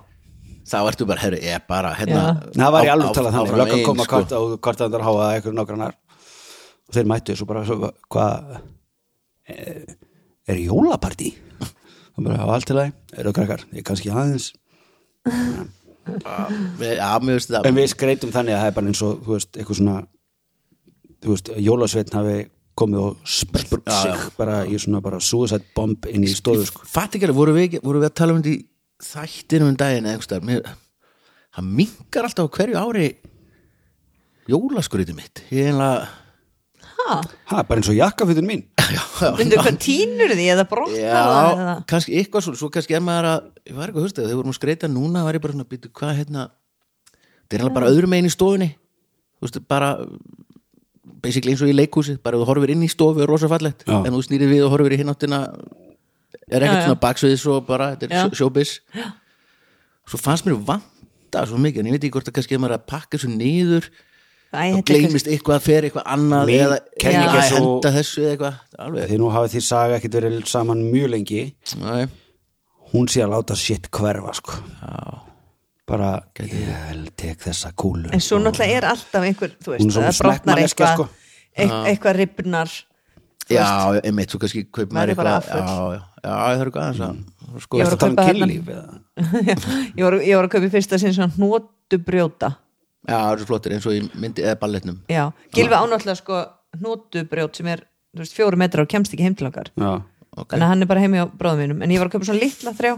þá ertu bara, herru, ég er bara hérna, Já. það var í á- alveg á- talað þannig áfram löggan ein, kom að sko. kvarta og kvarta andar háa að eitthvað nágrannar og þeir mættu þessu bara svo, hvað eh, er jólapartí? það bara hafa allt í lagi eru krakkar, ég kannski aðeins Við- Já, mér veist það en við skreitum þannig að það er bara eins og þú veist, eitthvað svona þú veist, jólasveitn hafi komið og spurt Já, já. sig bara í svona bara suicide bomb inn í stóðu sko Fatt ekki alveg, vorum við, ekki- vorum við að tala um þetta í þættinum um daginn eða einhverstaðar Mér- Það minkar alltaf á hverju ári jólaskriði mitt Ég einlega Ha? ha, bara eins og jakkafutur mín Myndu hvað tínur því eða brotnar það eða? Já, kannski eitthvað svo, svo kannski er maður að Ég var eitthvað, hústu, þegar við vorum að skreita núna var ég bara svona, býtu, hvað hérna Það er einlega bara öðrum megin í stofunni Þú veist, bara basically eins og í leikhúsi, bara ef þú horfir inn í stofu er rosa fallegt, Já. en þú snýrir við og horfir í hináttina er ekkert Já, já. svona baksviðis og bara, þetta Já. er sjóbis Svo fannst mér vanta svo mikið, en ég veit ekki hvort að kannski ef maður er að pakka þessu niður Æ, og þetta er gleymist eitthvað að fer eitthvað annað Mín eða, kenning eða er að svo- henda þessu eða eitthvað, alveg því nú hafið því saga ekkert verið saman mjög lengi Nei. hún sé að láta shit hverfa sko. bara ég vel tek þessa kúlu En svo náttúrulega er alltaf einhver, þú Hún veist, er svo það brotnar smekkmanneskja, eitthvað sko. eit- eitthvað ripnar Já, einmitt, þú kannski kaup maður Verður bara eitthvað Já, já, já, það eru aðeins að sko, Ég Ertu að var tala um kaupa hérna. kynlíf eða? ég, var, ég var að kaupa í fyrsta sinn svona hnótubrjóta Já, það eru svo flottir eins og í myndi eða balletnum Já, Gilvi ánáttúrulega sko hnótubrjót sem er, þú veist, fjóru metrar og kemst ekki heim til okkar já, Þannig að hann er bara heimi á bróðum mínum En ég var að kaupa svona litla þrjá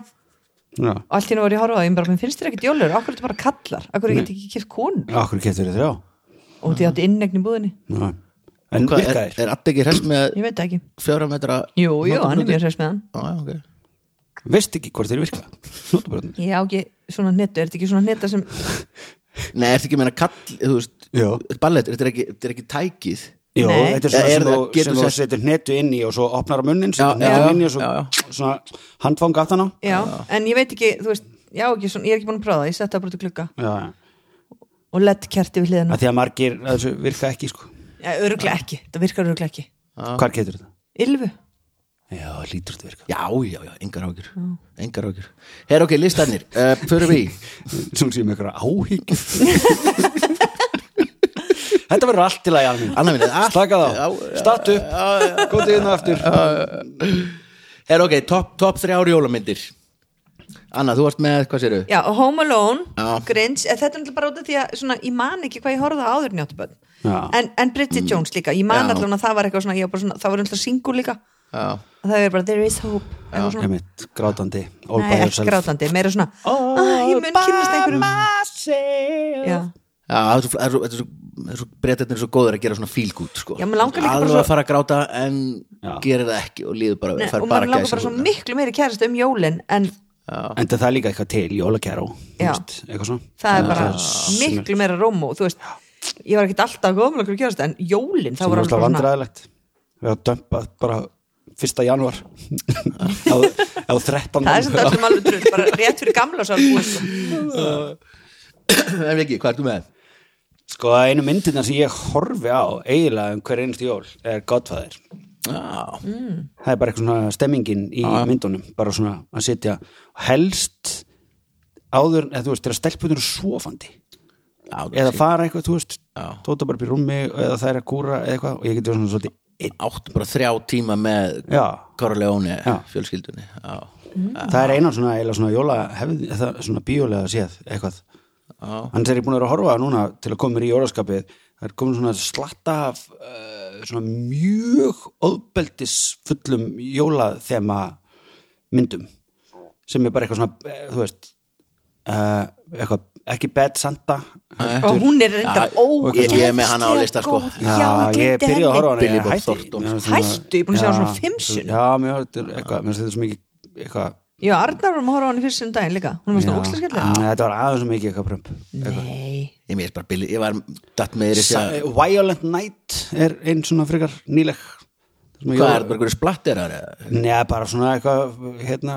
og já, allt hérna var ég að horfa á það Ég bara, mér finnst þér ekkert jólur, akkur er þetta bara kallar Akkur er þetta ekki kipt konu okkur keftur þið þrjá Og því átti innegni búðinni já. en Hvað, er, virkaðir, er allt ekki hress með ég veit það ekki fjóra metra jú, jú, hann er mjög hress með hann Já, já, ok. veist ekki hvort þeir virka notabröðnir ég á ekki svona hnettu, er þetta ekki svona hnetta sem Nei, ertu ekki að meina kall, þú veist, Já. ballett, þetta er ekki, þetta er ekki tækið. Jó, Nei. þetta er svona Er- sem þú, getur sem þú sett- setur hnetu inn í og svo opnar að munnin, setur Já, hnetu já, inn í og svo já, já. svona handfang aftan á já, en ég veit ekki, þú veist já, ekki svona, ég er ekki búin að prófa það, ég setja það bara út í glugga Já, já. og lett kerti við hliðina að því að margir að þessu virka ekki sko. ja, öruglega ekki, það virkar öruglega ekki Hvar getur þetta? Ylfu, Já, lítur þetta virka Já, já, já, engar ágjur, engar ágjur. Herra, ok, listanir, uh, förum við í. Svona séum einhverja áhygg Þetta verður allt til að ég alveg Anna mín, allt. Slaka Já, þá, startu upp Kóti inn aftur Herra, ok, topp top þrjár jólamyndir. Anna, þú varst með, hvað séru? já, og Home Alone Já. Grinch, eh, þetta er náttúrulega bara út af því að svona, ég man ekki hvað ég horfði á áður njóttu bönn Já. Mm. en, en Bridget Jones líka, ég man Já. allan að það var eitthvað svona, ég var bara svona, það var náttúrulega singur líka Já. það er bara, there is hope eitthvað svona, Einmitt, grátandi all by nei, ekki yourself. grátandi, meira svona All ah, ég mun by kynnast einhverjum myself. já, Já, það er svo, það er svo, það er svo, það er svo breytetnir svo góður að gera svona feel good, sko. Já, mig langar líka bara Alveg svo- að fara að gráta en Já. gerir það ekki og líður bara, nei, fær og maður bara langar bara svo gæsahúðina. miklu meiri kærast um jólin en En það er líka eitthvað til, jólakeró þú Já. veist, Eitthvað svona það er Já, bara svona- miklu meira róm og þú veist, ég var ekkert alltaf góðum okkur kærast, en jólin, það sem var var alveg alltaf bara svona vandræðilegt við erum dömpað bara 1. janúar á, á 13. það er sem þetta sem alveg trull, bara rétt fyrir gamla sál búið, sko. En ekki, hvað ertu með? sko einu myndina sem ég horfi á eiginlega um hver einstu jól er Godfather Já, það er bara eitthvað svona stemmingin í myndunum bara svona að sitja helst áður, eða þú veist, þegar stelpunir eru svofandi já, eða fara eitthvað, þú veist Já. tóta bara upp í rúmi eða það er að kúra eða eitthvað og ég geti verið svona svolítið einn. áttu bara þrjá tíma með Já, Corleone Já. fjölskyldunni já. það er eina svona, eiginlega svona jóla hefði, það, svona bíólega séð eitthvað Já. annars er ég búin að vera að horfa núna til að koma mér í jólaskapið það er komin svona slatta af uh, svona mjög óbeldis fullum jólathema myndum sem er bara eitthvað svona, eh, þú veist uh, eitthvað, ekki bad Santa og hún er reyndar ég, ógeðslega ég er með hana á lista sko góð. Já, Já, ég ég gleymdi byrjaði að horfa á hana Billy ég Bob hætti- Thornton. mér finnst svona- Hættu, ég er búin að sjá hana svona Já, fimm sinnum. Já, mér finnst þetta er eitthvað, mér finnst þetta svo mikið eitthvað já, Arnar var að horfa á hann í fyrst sinni daginn líka hún var Já. svona ókslega Nei, skellið Þetta var aðeins svo mikið eitthvað prömp nei, ég, ég, bara, Billy, ég var datt með þér í segja Sa- Violent Night er einn svona frekar nýleg Sem að ég- hvað er það, bara einhverju splatterar eða? Nei, bara svona eitthvað hérna,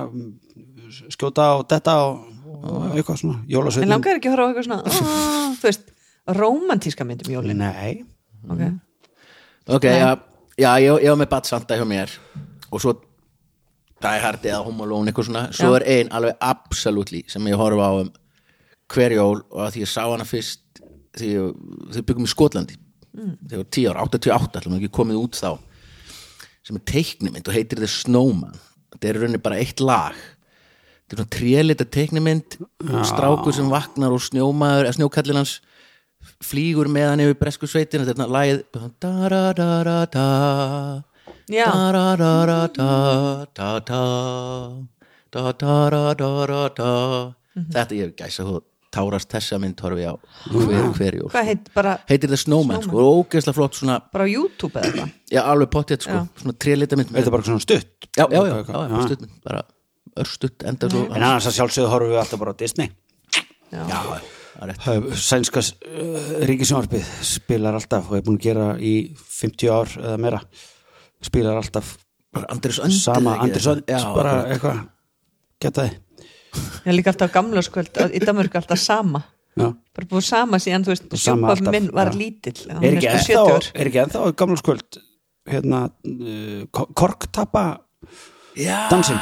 skjóta og detta og, og eitthvað svona, en jólasveitin langar ekki að horfa á eitthvað svona "Ah", þú veist, romantíska mynd um jólin Nei, ok, ok, já, já ég, ég var með Bad Santa hjá mér og svo Die Hard eða Home Alone eitthvað svona svo Já. er ein alveg absolutely sem ég horfa á um hverjól og að því ég sá hana fyrst því ég, þau byggum í Skotlandi Mm. þegar ég var 10 ára, 88 ætlum ekki komið út þá sem er teiknimynd og heitir The Snowman þetta er í rauninni bara eitt lag þetta er svona trélita teiknimynd strákur sem vaknar og snjómaður eða snjókallin hans flýgur með hann yfir bresku sveitin þetta er þarna lagið da-da-da-da-da Já. da-da-da-da-da da-da da-da-da-da-da þetta ég hef gæsa hú tárast þessa mynd horfi á hver, hver jól hvað heit bara heitir það Snowman, sko, og ógeðslega flott svona, bara á YouTube eða eitthvað já, alveg pottið, sko, Já. svona trélita mynd er þetta bara svona stutt já, já, já, já, Eitthvað, já, stuttmynd bara örstutt, enda svo En annars að sjálfsögðu horfum við alltaf bara á Disney já, það er rétt Það er Sænska uh, ríkisjónvarpið spilar alltaf og er búin að gera í 50 ár eða meira spilar alltaf bara Andris Önd sama Anders Önd já, bara eitthvað, geta þið ég er líka alltaf á gamla skvöld í Danmörku alltaf sama Já. bara búið sama síðan, þú veist, Sama sjópað alltaf, minn var já. lítill hann er ekki, sko ennþá, 70 er ekki ennþá gamla skvöld hérna uh, ko- korktappa já, Dansinn.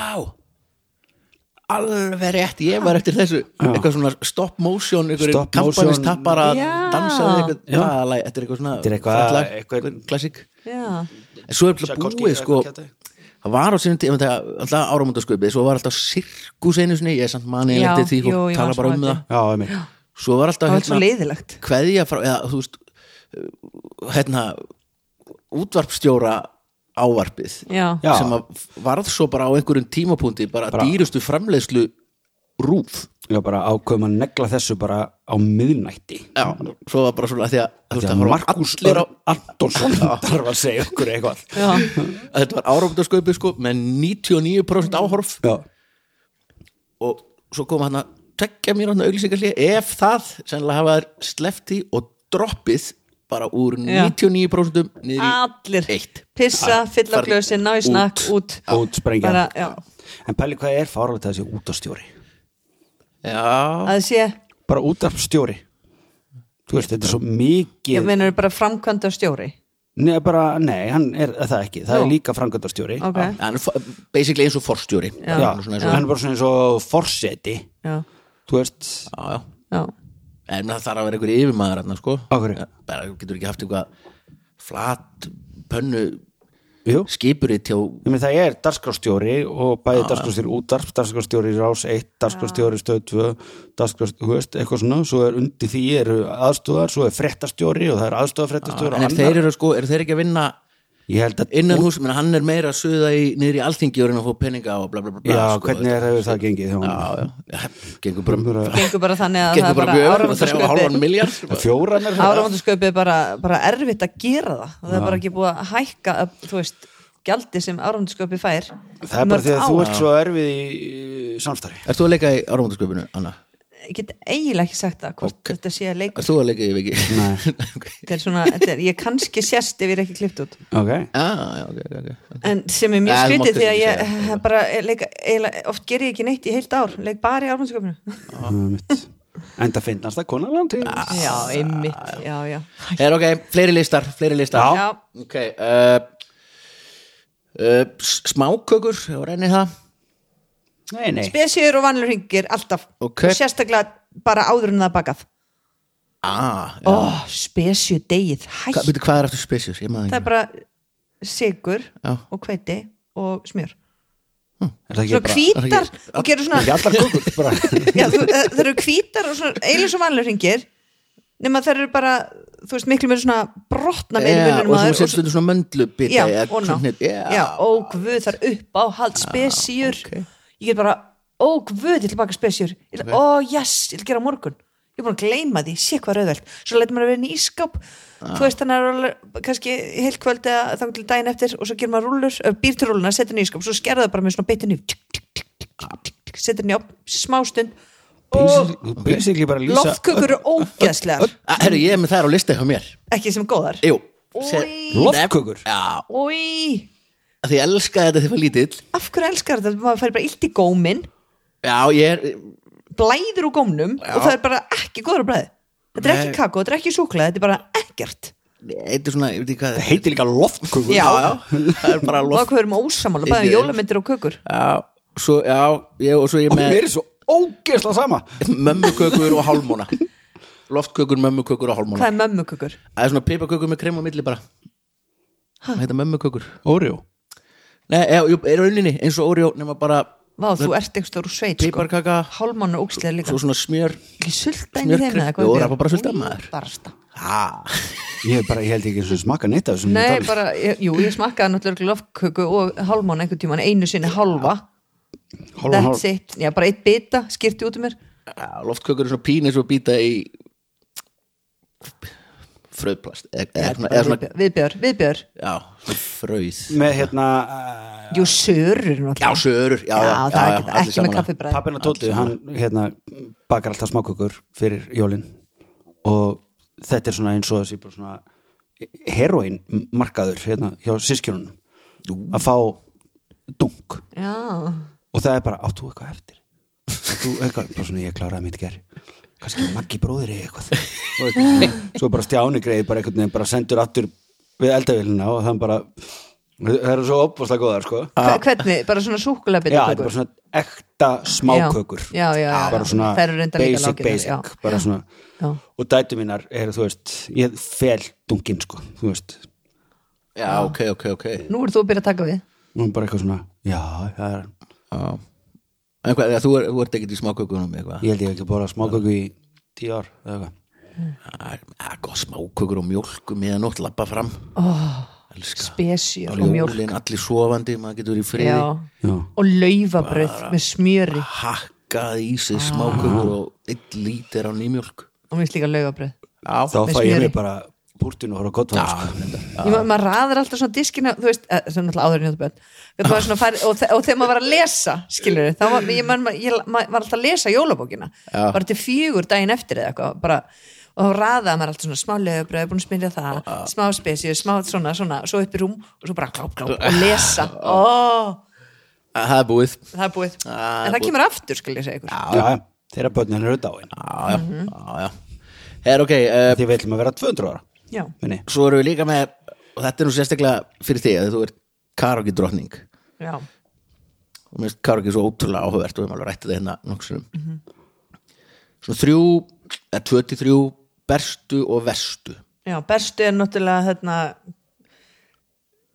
alveg rétt, ég var eftir þessu eitthvað svona stop motion einhverjum Stop motion. kampanistapar að Já. dansa eða eitthvað, Já. hvaða lag, þetta er eitthvað svona Þetta er eitthvað- frægt lag, eitthvað- klassik já, en svo er alltaf Tchaikovsky búið, eða sko eitthvað kjaftæði. það var á sínum tíma þegar alltaf áramundasköpið, svo var alltaf sirkus einu sinni, ég er samt manið Já, eftir því jú, og ég tala man bara smá um eftir. það Já, einmitt. svo var alltaf hérna, það hérna- var svo leiðilegt kveðja frá, eða þú veist uh, hérna útvarpstjóra ávarpið já, Já. sem að varð svo bara á einhverjum tímapunkti bara, Bara- dýrustu framleiðslu rúf Já, bara ákveðum að negla þessu bara á miðnætti já, svo var bara svona því að þú veist Þegar að horfa á Markus allir á, Antonsson þarf að segja okkur eitthvað já, að þetta var áramdaskaupi sko með 99% áhorf Já, og svo kom hann að tekja mér hann auglýsingarlið ef það sennilega hafa þær slefti og droppið bara úr Já. 99% niður í allir eitt pissa, fylla Farðu glösin, ná í snakk, út, út sprengja bara, já, En pæli hvað er fáralegt að þessi útastjóri já, að sé Bara útastjóri Þú veist, þetta er svo ég mikið meina bara framkvæmda stjóri Nei, bara, nei, hann er það ekki Það Nú. er líka framkvæmdastjóri ok, hann er fa- basically eins og forstjóri Já, Hann er svona eins og- hann er bara svona eins og forseti já, Þú veist, já, já. já en það þarf að vera einhver yfirmaður hann sko Á hverju? bara þú getur ekki haft eitthvað flat pönnu jú skipurit hjá Ég meina, það er dagskrárstjóri og bæði dagskrárstjóri útarp, dagskrárstjóri rás 1, dagskrárstjóri stöð 2 dagskrárstjóri, þú veist, eitthvað svona svo er undir því eru aðstúðar, svo er fréttastjóri og það er aðstúðarfréttastjóri en og er þeir eru sko, eru þeir ekki að vinna Ég held að, innan hús, menn hann er meira að suða í niður í alþingi og reyna að fá peninga og bla bla bla, bla já, sko. hvernig er hefur það gengið hjá já, hann? já, já, gengur bara gengur bara þannig að það gengur er bara bara mjög öfnum og þrjá og hálfan áramundasköpi miljard Fjóran er það? áramundasköpi er bara, bara erfitt að gera það og það er bara ekki búið að hækka þú veist, gjaldi sem áramundasköpi fær Það er bara því að þú ert svo erfið í samstarfi Ert þú að leika í áramótasköpunu, Anna? ég get eiginlega ekki sagt það hvort þetta sé að leika Ert þú að leika í viki? Nei. Ok. þetta er svona, þetta er, ég kannski sérst ef ég er ekki klipt út Ok, Já, Ah, já, ok, ok, ok en sem er mjög Nei, þú mátt skrítið því að ekki ég segja bara leika, eiginlega, oft ger ég ekki neitt í heilt ár leik bara í áramundasköpinu það er mitt Enda finnast það konarland já, einmitt, já, já Er ok, fleiri listar, fleiri listar Já. Ok, uh, uh, s- smákökur, ég var enni það Nei, nei, spesiður og vanlur hringir alltaf Ok. og sérstaklega bara áður en það er bakað Ah, Ó, oh, spesju degið, hætt hva, byrju, hvað er aftur spesjur? Ég maður Það er ekki bara sigur Já. og hveiti og smjör er það ekki bara Svo það er hvítar ekki- og gerur svona Ekki allar kukur, bara já, þú, eh, Það eru hvítar og svona eiginlega svo vanlega hringir nema það eru bara, þú veist, miklu meira svona brotna Já, meira vinnur og svo maður sér stundur svona möndlubita Já, eða og ná svona- Já, Já, og guð þar upp á hald spesjur ok. Ég get bara, ó guð, ég ætla að baka spesjur Ég ætla- Ó, yes, ég ætla að gera á morgun Ég er búin að gleyma því, sé hvað rauðveld Svo leitum maður að vera inn í ískáp Þú veist þannig að það er alveg- kannski heilt kvöld eða þangur til daginn eftir og svo gerir maður rúlur eh, býr til rúluna, setur hann í ískáp, svo skerða það bara með svona bitinu setur hann í opn, smástund og Basically- Basically bara lýsa loftkökur eru ógeðslegar Ah, Herru, ég er með þær á lista hjá mér ekki sem góðar Jú, Oj. Sem- Loftkökur? Já, Új, af því ég elska þetta þegar lítill af hverju elskar þetta? Maður fær bara illt í góminn Já, ég er, blæður úr gómnum og það er bara ekki góður á blæði þetta er ekki kakó, þetta er ekki súklaði, þetta er bara ekkert Þetta er svona, ég veit ekki hvað Það heitir líka loftkökur Já. Það er bara og loft hvað erum ósamála, bæðum Ég- jólamyndir og kökur Já, svo, já, ég, og svo ég Og með mér er svo ógeðsla sama mömmukökur og hálmóna Loftkökur, mömmukökur og hvað hálmóna er mömmukökur? Það er svona pipakökur með krem á milli bara Það heita mömmukökur Órió Nei, já, jú, er rauninni eins og Oreo nema bara Vá, þú ert ekki stór úr sveit sko. piparkaka hálmann og ógslega líka Svo svona smjör ekki sulta inn í þeim smjörkrydd. eða Jú, hvað rabarbar sulta, maður. barsta. ah. Ég, er bara, ég held ekki eins og smaka neitt af þessum nei, um- tali. bara, ég- jú, ég smakkaði náttúrulega loftköku og hálmann einhvern tíman einu sinni halva Hálfan that's hálf. it, já, bara eitt bita skirti út um mér Já, Loftkökur er svona pín eins og býta í fröðplast eða, eða, svona- eða svona, viðbjör, viðbjör, já, svona fröð Með hérna jú, sörur náttúrulega. Já, sörur, já, Já, já, það er já, ekki, allir ekki með sammála. uh, kaffibræð pappina Tóti, hann hérna bakar alltaf smákökur fyrir jólin og þetta er svona eins og þessi bara svona heroin markaður hérna hjá sískjörunum að fá dunk Já, og það er bara, áttu eitthvað eftir áttu eitthvað, bara svona ég kláraði mitt ger kannski maggi bróðir eða eitthvað Og eitthvað. svo bara stjáni greið bara einhvern veginn, bara sendur aftur við eldavélina og þann bara það eru svo opvaslega góðar sko Hve- hvernig, bara svona súkulabit já, þetta er bara svona ekta smákökur Já, já, já, bara já. svona Þær eru reyndar líka basic, lágkjötnar, basic já. bara svona Já. og dætu mínar eru, þú veist ég fel dungin, sko, þú veist Já, ok, ok, ok Nú ert þú að byrja að taka við og bara eitthvað svona, já, það er Já En hvað, þú, er, þú ert ekkert í smákökunum eitthvað ég held ég hef ekki bóla smáköku í tíu ár eða eitthvað Það er- það er góð smákökur og mjólk um eða nótt lappa fram Elskar Spesjur og mjólk Jólin, allir sofandi, maður getur í friði Já. Já. Og laufabröð með smjöri Hakk gað í Ah. sig smákökur og eitt lítir á nýmjólk og mér finnst líka laugabröð Já, þá með fæ ég smjöri. mig bara búrtinu og horf að gott já, var sko. reyndar. Ég ma- maður raðir alltaf svona diskina þú veist, eh, sem náttúrulega áður en ég átti börn. Við bara svona fari, og, þe og þegar maður var að lesa skilur þá var ég, man, ég ma- var alltaf að lesa jólabókina, Já. bara til fjögur daginn eftir eða eitthvað, bara og þá raðaði maður alltaf svona smá lögubröð, búin að smilja það Ah. smá spesíu, smá svona, svona svo upp í rúm og svo bara gláp, gláp og lesa ó, það er búið það er búið Ah, en það búið. kemur aftur, skil ég segja ykkur já, já, þeirra börnin eru dáin Já, já, Mhm. já, já Það er ok, uh, því við ætlum að vera 200 ára já, minni. svo erum við líka með og þetta er nú sérstaklega fyrir þig að þú ert karaoke drottning já, og mér finnst karaoke svo ótrúlega áhugavert og við erum alveg rættið hérna nokksunum mm Mhm. -hmm. Svona þrjú eh, eða 23 berstu og verstu já, bestu er náttúrulega þarna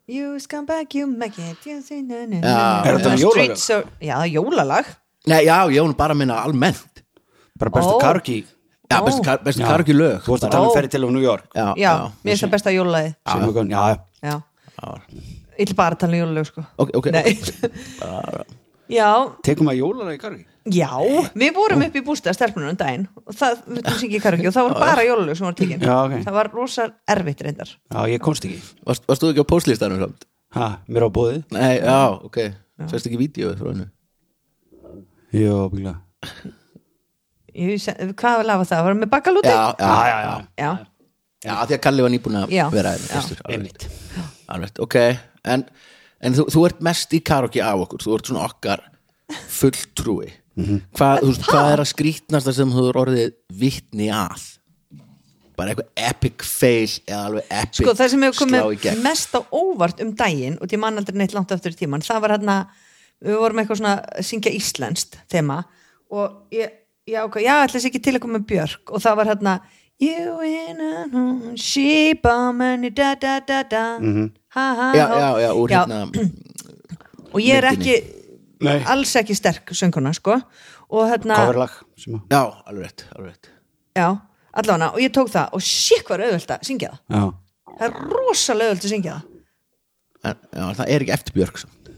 You scumbag, you make it you see, na, na, Já. na, na, Er þetta na, um jólalag? streets are- Já, það er jólalag Nei, já, ég hún bara að minna almennt bara bestu Ó. oh. karki Já, Ó. bestu, kar, bestu Já. karaoke lög þú varst að tala Ó. um ferri til á New York Já, Já, mér finnst það besta jólalagi sem er gönn- já, já, Já, ég vil bara að tala um jólalag sko Ok, ok, Nei. Já, tekum að jólalega í karki já, við vorum upp í bústað stelpunum um daginn og það, við þú syngi karungi og það var bara jólalög sem var tekin Já, ok. það var rosa erfitt reyndar já, ég komst ekki Varst, varst þú ekki á postlistanum samt? ha, mér á bóði Nei, já, ok Sérst ekki vídeo frá hennu já, byggla Ég, vissi- Hvað var lafa það? Var það með bakalúti? Já, já, já, já, já. já, Já, af því að Kalli var nýbúin að Já, vera hérna já. fyrstur, alveg, einmitt alveg, ok en, en þú, þú ert mest í karaoke af okkur þú ert svona okkar fulltrúi Mhm. hvað, þú, veist, hvað er að skrýtnasta sem þú er orðið vittni að bara eitthvað epic fail eða alveg epic Sko það sem hefur slá í komið gegn. mest á óvart um daginn og ég man aldrei neitt langt aftur í tíman það var hérna, við vorum eitthvað svona að syngja íslenskt þema og ég, ég ákvað, já ætla sér ekki til að koma með Björk og það var hérna You in a room, she bomani da da da da ha ha Mhm. já, ha já, já, úr Já, hérna og ég er ekki Nei. alls ekki sterk sönguna sko og hérna, coverlag sem að já, alveg rétt, alveg rétt já, allavega og ég tók það og sík var auðvöld að syngja það já, það er rosalega auðvöld að syngja það en, já, en það er ekki eftir Björk samt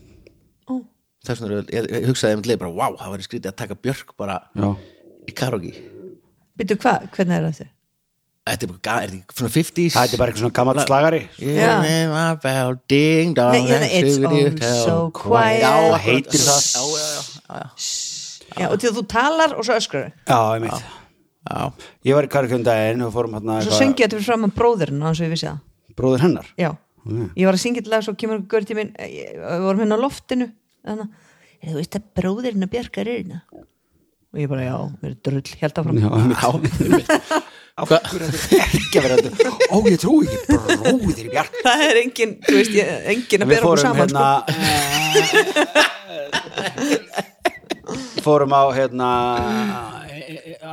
Ó. þess vegna er auðvitað- ég, ég hugsaði um leið bara, wow, það var skrítið að taka Björk bara já í karaoke Býtu hvað, hvernig er það þið? Þetta er bara, ga- er þetta ekki svona 50s það er bara eitthvað svona gammalt slagari Já. Yeah, about ding dong Nei, hérna, and it's shivity all hell. so quiet. Hvað Já, akkurat. heitir það? Já, já, já, já, já. Já, og til að þú talar og svo öskrar já, einmitt Já. ég var í karki um daginn og fórum hérna og svo söng ég þetta fyrir fram að bróðurinn hans og ég vissi það bróður hennar já, ég var að syngja til lag svo kemur gaur til minn, eh, ég- við vorum hérna á loftinu þannig að þú veist að bróðurinn að bjargar er hérna og ég bara já, við erum drull, held áfram já, einmitt af hverju þetta er ekki að vera þetta ó, ég trúi ekki, bróðir Bjark það er engin, þú veist, ég, engin að við bera okkur fórum saman sko. hérna fórum á hérna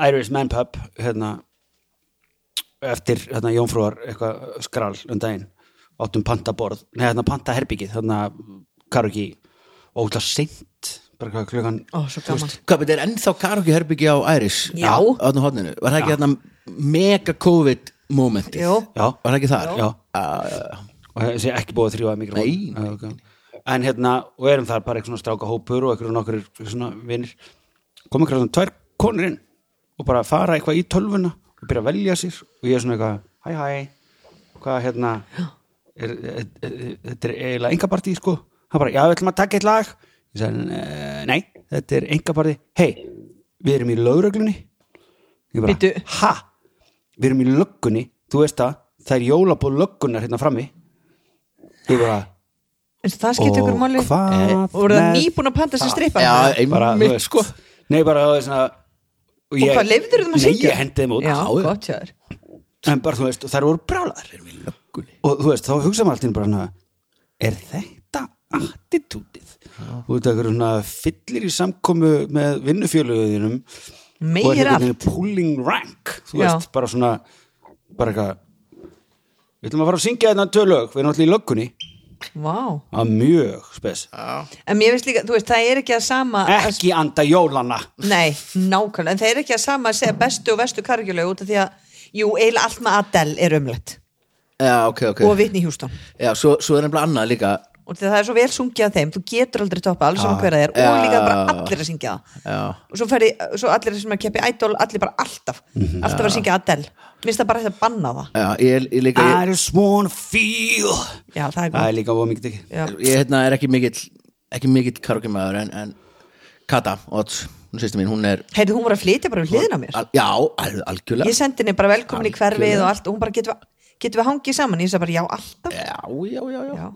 Irish Man Pub hérna eftir hérna Jónfrúar eitthvað skrall um daginn áttum pantaborð, neða hérna pantaherbyggið hérna karugi og það seint, bara hvað klukkan sko. ó, svo gaman Hvað, þetta er ennþá karaoke herbyggi á Iris Já. Þannig hodninu, var það ekki þarna mega COVID momentið Jú. Já. Var það ekki þar? Já. Já, og þessi ekki búið að þrjóða mikið Ah, Nei, nei, en hérna, og erum þar bara eitthvað svona stráka hópur og eitthvað nokkur svona vinnir kom eitthvað svona tvær konur inn og bara fara eitthvað í tölvuna og byrja að velja sér og ég er svona eitthvað, hæ hæ hvað hérna er, er, er, þetta er eiginlega engapartí sko hann bara, já við ætlum að taka eitt lag ég sagði, "Eh, nei, þetta er engapartí hei, við erum í lögreglunni ég bara, Bíddu. ha við erum í löggunni, þú veist það það er jólabóð löggunnar hérna frammi ég bara, en svo það skipti ykkur máli og hvað og voru það með- nýbúin að panta sem strippa já bara, þú einmitt veist, sko nei bara það er svona og, og hvað leifður þeim að Nei, syngja? ég hendi þeim út já, Já, já. gott hjá þér en bara þú veist, og þær voru brálaðar Löggunni. og þú veist, þá hugsaðum alltaf bara hana, er þetta attitútið þú veit, eitthvað svona fyllir í samkomu með vinnufjöluðinum Meir og allt. þetta pulling rank þú Já. veist, bara svona bara eitthvað við ætlum að fara að syngja þetta tölög, við erum allir í löggunni Vá. að mjög spes Ah, en mér finnst líka, þú veist, það er ekki að sama að ekki anda jólana Nei, nákvæmlega, en það er ekki að sama að segja bestu og vestu kargjulegu út af því að jú, eiginlega allt með Adele er umlegt Já, ok, ok og Whitney Houston Já, svo, svo er nefnilega annað líka og því að það er svo vel sungið af þeim þú getur aldrei toppað alls saman hverða þér og Ah, Já. líka bara allir að syngja það Já. og svo, ferði, svo allir sem er að keppi ædol allir bara alltaf, Mhm. alltaf að syngja Adele minnst það bara ætti að banna það Já, ég, ég Ah. líka, I ég, just wanna feel já, það Það er gott er líka of mikið ekki Já. ég hérna, er ekki mikill ekki mikill karaoke maður en, en Kata, Ots, hún sýstu mín, hún er heyrðu, hún var að flytja bara við hliðina á mér al, já, al, algjörlega ég sendi henni bara velkomin í Algjörlega. hverfið og allt og hún bara, getur við, getur við hangið saman ég sagði bara, já, alltaf já, já, já, já. já.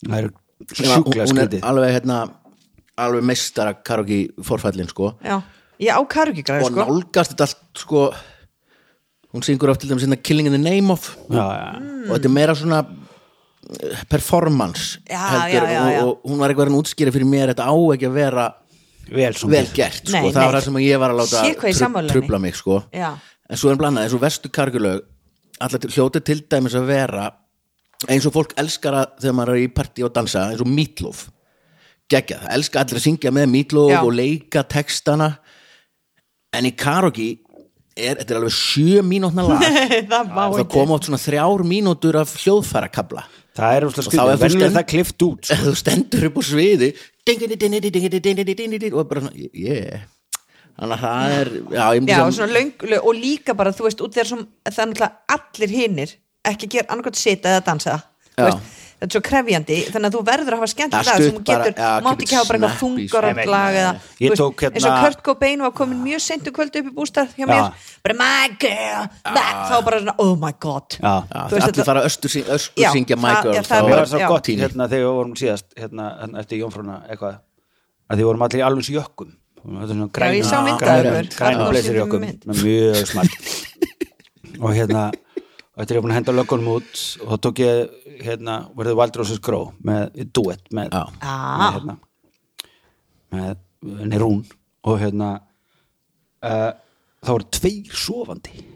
Það er Nema, hún- sjúklega hún er skrítið alveg hérna alveg meistara karaoke forfællin sko Já. ég á karugigræði og sko nálgast þetta allt sko hún syngur oft til dæmis hérna Killing in the Name of Já, já og þetta er meira svona eh, performance Hmm. Já, já, já, já. Og, og hún var eitthvað að útskýra fyrir mér þetta á ekki að vera Vel svona vel gert sko. Nei, það var nei. það sem ég var að láta Sé hvað ég sammála henni. trubla mig sko. Já. en svo er blanað, eins og vestu kargulög allar til- hljótið til dæmis að vera eins og fólk elskar að þegar maður er í partí og dansa, eins og Meatloaf geggjað, það elska allir að syngja með Meatloaf Já. og leika textana en í karaoke er, þetta er alveg sjö mínútna lag það má og það ekki koma átt svona þrjár mínútur af hljóðfærakabla Það er úrslega þá er skrítið fólk- Venjulega er það klift út sko. ef þú stendur upp á sviði dingidi, dingidi, dingidi, dingidi, dingidi, og bara svona, yeah þannig að það er já, ég myndi Já, sem- svona löng, lög, og líka bara, þú veist, út þegar sem, það er náttúrulega allir hinir ekki að gera annarkvæmt sita eða dansa Þú Já. veist, þetta er svo krefjandi, þannig að þú verður að hafa skemmt Já, í dag sem stutt þú bara- getur, já, mátt keep ekki hafa bara it eitthvað snappy, þungarönd sko. lag eða, Ég þú veist, tók hérna- eins og Kurt Cobain var komin mjög seintu kvöldu upp í bústað hjá mér, bara my girl that, þá bara svona, oh my god Já. Já, Þú veist, allir þetta- fara östur, syng, öskur Já, syngja My það- Girl já, það er Mér bara- var svo já. gott Tíni. hérna þegar við vorum síðast hérna, hérna, eftir Jónfrúna eitthvað að því vorum allir í alveg jökkum Þetta er svona Já, ég sá græna- mynd af græna- ykkur. græna Þarna var blazer stundum jökkum mynd. með mjög smart og hérna og þetta er ég búin að henda löggunum út og þá tók ég hérna verðið Valdrósins Gró með duett með, Já. Ah. með hérna með Nerún og hérna uh, þá voru tveir sofandi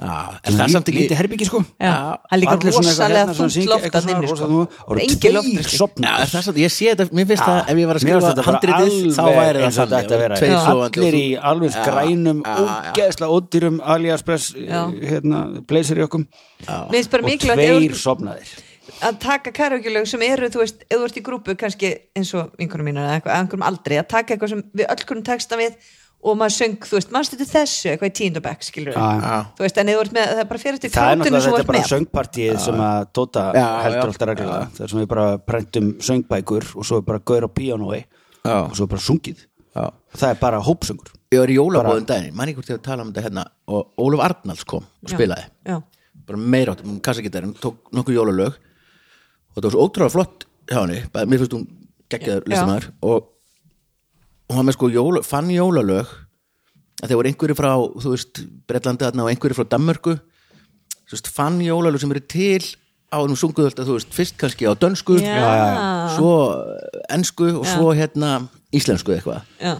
Já, en það er samt ekki lítið herbyggi sko Já, það er líka Allir svona eitthvað rosalega hérna, svona þungt syngja, loft eitthvað þarna inni, svona sko. rosalega þungt. Og Engin sko. eru tveir loftþrýsting. Já, er sofnaðir. það samt, ég sé þetta, mér finnst Já. það ef ég var að Mér fannst skrifa þetta bara handritið þá alveg væri það eins og þannig þetta ætti að vera. tveir Já. sofandi og allir í þú- alveg Já, grænum já, já. ógeðslega ódýrum aliaspress Já. hérna, blazer í okkum Mér finnst bara og mikilvægt ef þú tveir ert- sofnaðir að taka karaoke-lög sem eru, þú veist, ef þú ert í grúpu kannski eins og vinkunum mínar eða eitthvað, eða einhverjum aldrei, að taka eitthvað sem við öll kunum texta við og maður söng, þú veist, maður stöldur þessu eitthvað í tíndabæk, skilur við Já. þú veist, en ef þú ert með, það er bara fyrir það eftir er kátunni náttúrulega sem þú þetta ert bara með söngpartíð sem að Tóta Já, já. heldur alltaf reglulega þar sem við bara prentum söngbækur og svo er bara gaur á píanói Já. og svo er bara sungið Já. það er bara hópsöngur Ég var í jólabóðum daginn, mann ykkur til að tala um þetta hérna og Ólaf Arnalds kom og spilaði já, bara meira átt, hún kassa ekki hún tók nokkuð jólalög og það var svo ótrúlega flott hjá henni, bara, mér finnst hún geggjaður Já. listamæður og hún var með sko jóla, fann jólalög að þeir voru einhverju frá, þú veist Bretlandi þarna og einhverju frá Danmörku þú veist, fann jólalög sem eru til á hennum sunguðölda, þú veist, fyrst kannski á dönsku Já. Já, já, já. svo ensku og svo hérna íslensku eitthvað já,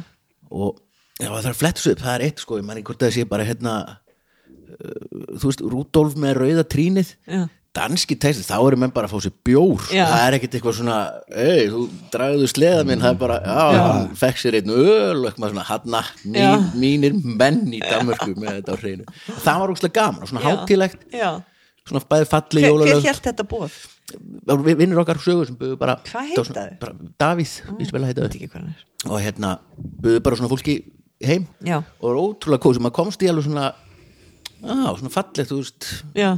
og já, það er flettuð upp, það er eitt sko, ég manni hvort það sé bara hérna uh, þú veist, Rúdolf með rauða trínið Já. danski texti, þá eru menn bara að fá sér bjór Já. það er ekkit eitthvað svona ei, þú dragðu sleða minn, það er bara já, hann fekk sér einn öl og eitthvað svona hanna, Já. mín, mínir menn í Danmörku með þetta á hreinu það var úkslega gaman, og svona hátilegt já. svona bæði falli Hver, hver jólalög hélt þetta bóð? Við- vinnur okkar sögur sem buðu bara Hvað þetta var svona- heita þau? bara Davíð, mm. Ísabella heita þau Ekki hvað hann er. og hérna buðu bara svona fólki heim Já. og það var ótrúlega kósi, maður komst í alveg svona á, svona fallegt, þú veist Já.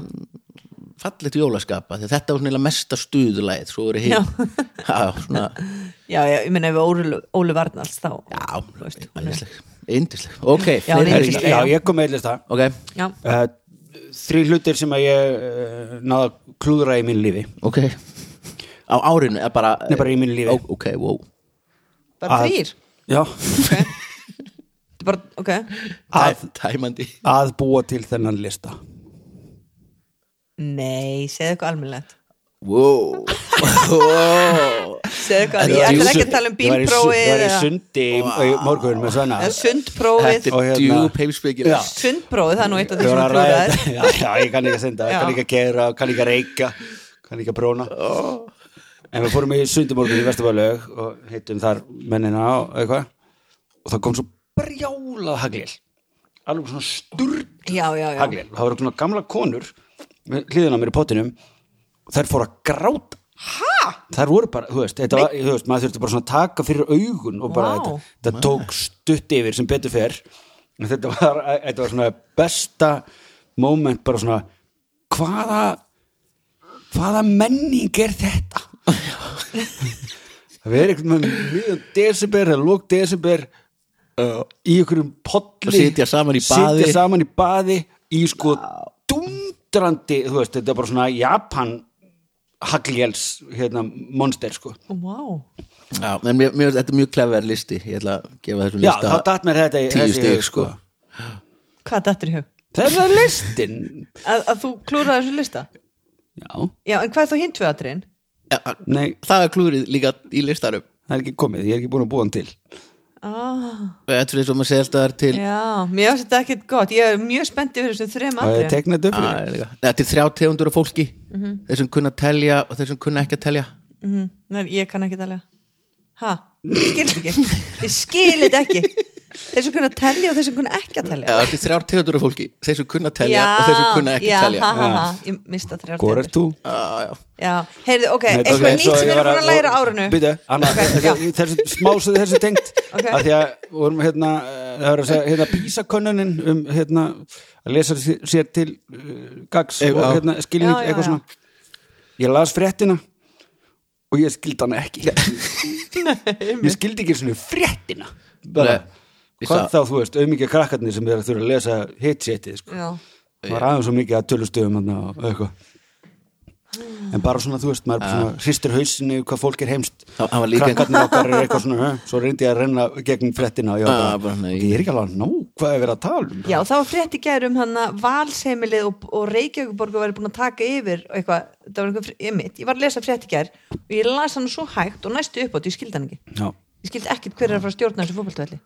fallegt jólaskapa, því að þetta var svona eiginlega mesta stuðulæð, svo voru hinn Já. já, svona, já, já, ég meina ef við Ólu Varnals þá þú já, veist, hún er- yndisleg yndisleg, ok, Já, hún er fleiri yndisleg. ringar. já, ég kom með eillista ok, já, uh, þrý hlutir sem að ég uh, náða að klúðra í mínu lífi ok á árinu, eða bara, Nei, bara í mínu lífi. Ó, ok, wow, bara Að- þrýr já, ok, Þetta er bara, ok að, Tæ, tæmandi að búa til þennan lista nei, segðu eitthvað almennlegt wow, wow segðu Þetta eitthvað, ég var ætla í ekki sund- að tala um ég var í, sund, bílprófið ég var í eða- sundi í morgun með Svenna eða þetta sundprófið er Og hérna- djúb heimspekir Já. sundprófið, það er nú eitt af Ég því var sem að ræða klúðraðist. þetta. já, já, ég kann ekki að synda, ég Já. kann ekki að gera kann ekki að reyka, kann ekki að bróna en við fórum í sundumorgun í Vestabæðlaug og hittum þar mennina og eitthvað og það kom svo brjálað haglil alveg svona sturd já, já, já, haglil, það voru svona gamla konur við hliðina á mér í pottinum og þær fóru að gráta þær voru bara, þú veist, þetta, var, þú veist maður þurfti bara svona að taka fyrir augun og bara Vá. þetta, þetta tók stutt yfir sem betur fer En þetta var, þetta var svona besta moment bara svona hvaða hvaða menning er þetta það verið einhvern veginn miðan desember eða lók desember uh, í einhverjum polli Sitja saman í baði. sitja saman í baði í sko dundrandi þú veist, þetta er bara svona Japan Hagljels hérna, monster sko wow. Já, en mér, mér, þetta er mjög klefver listi ég ætla að gefa þessum já, lista þá datt mér þetta í- tíu þessi í stig, hug, sko. hvað dættir í hug? þessa listin Að, að þú klúraði þessu lista? já, Já, en hvað er þá hinn tvö atriðin? Já, nei, það er klúrið líka í listarum það er ekki komið, ég er ekki búin að búa hann til Ah, Þetta er eins og maður segja alltaf þar til já, mér finnst þetta ekkert gott Ég er mjög spennt yfir þessum þrem það er atriðin teknað upp fyrir Á, líka. Þetta Ah, er þrjá tegundur af fólki þeir sem kunna að telja og þeir sem kunna ekki að telja Mhm, Nei, ég kann ekki talja Hæ? Ég skil þetta ekki Ég skil þetta ekki Þeir sem kunna að telja og þeir sem kunna ekki að telja Já, Þetta er þrjá tegundur af fólki þeir sem kunna að telja og þeir sem kunna ekki já, að telja Ah, ha, ha, ha. Ég mista þrjár Hvor ert tegundir. þú? Já, já. Já, heyrðu, ok, Nei, eitthvað ok, nýtt svo sem við ég erum var búin að læra á árinu Bíddu, Anna, Ok, já. okay, þessu, smá svo þessu tengt Ok. að því að vorum hérna eh, það er að segja, hérna písakönnunin um hérna að lesa sér sér til uh, gags Ey, og já. hérna skilning Já, já, eitthvað já. svona ég las fréttina og ég skildi hana ekki ég skildi ekki svona fréttina bara, Nei, ég hvað sá- þá þú veist, auðmikið krakkarnir sem er að þurfa að lesa hitt setið sko Já, það var aðeins svo mikið að tölustöðum hann og eitthvað en bara svona, þú veist, maður bara svona hristir hausinu hvað fólk er heimst Það- það var líka krakkarnir okkar er eitthvað svona "Hæ?" svo reyndi ég að renna gegn frettina og ég, Ah, var bara, bara, nei. "Ok, ég er ekki alveg að ná hvað er verið að tala um já það var frétt í gæru um hann að valseimilið og, og Reykjavíkuborg væri búin að taka yfir og eitthvað, það var eitthvað, frétt- ég mitt, ég var að lesa frétt í gær og ég las hann svo hægt og næstu upp á því ég skildi hann ekki já, Ég skildi ekkert hver er að fara að stjórna þessu fótboltavelli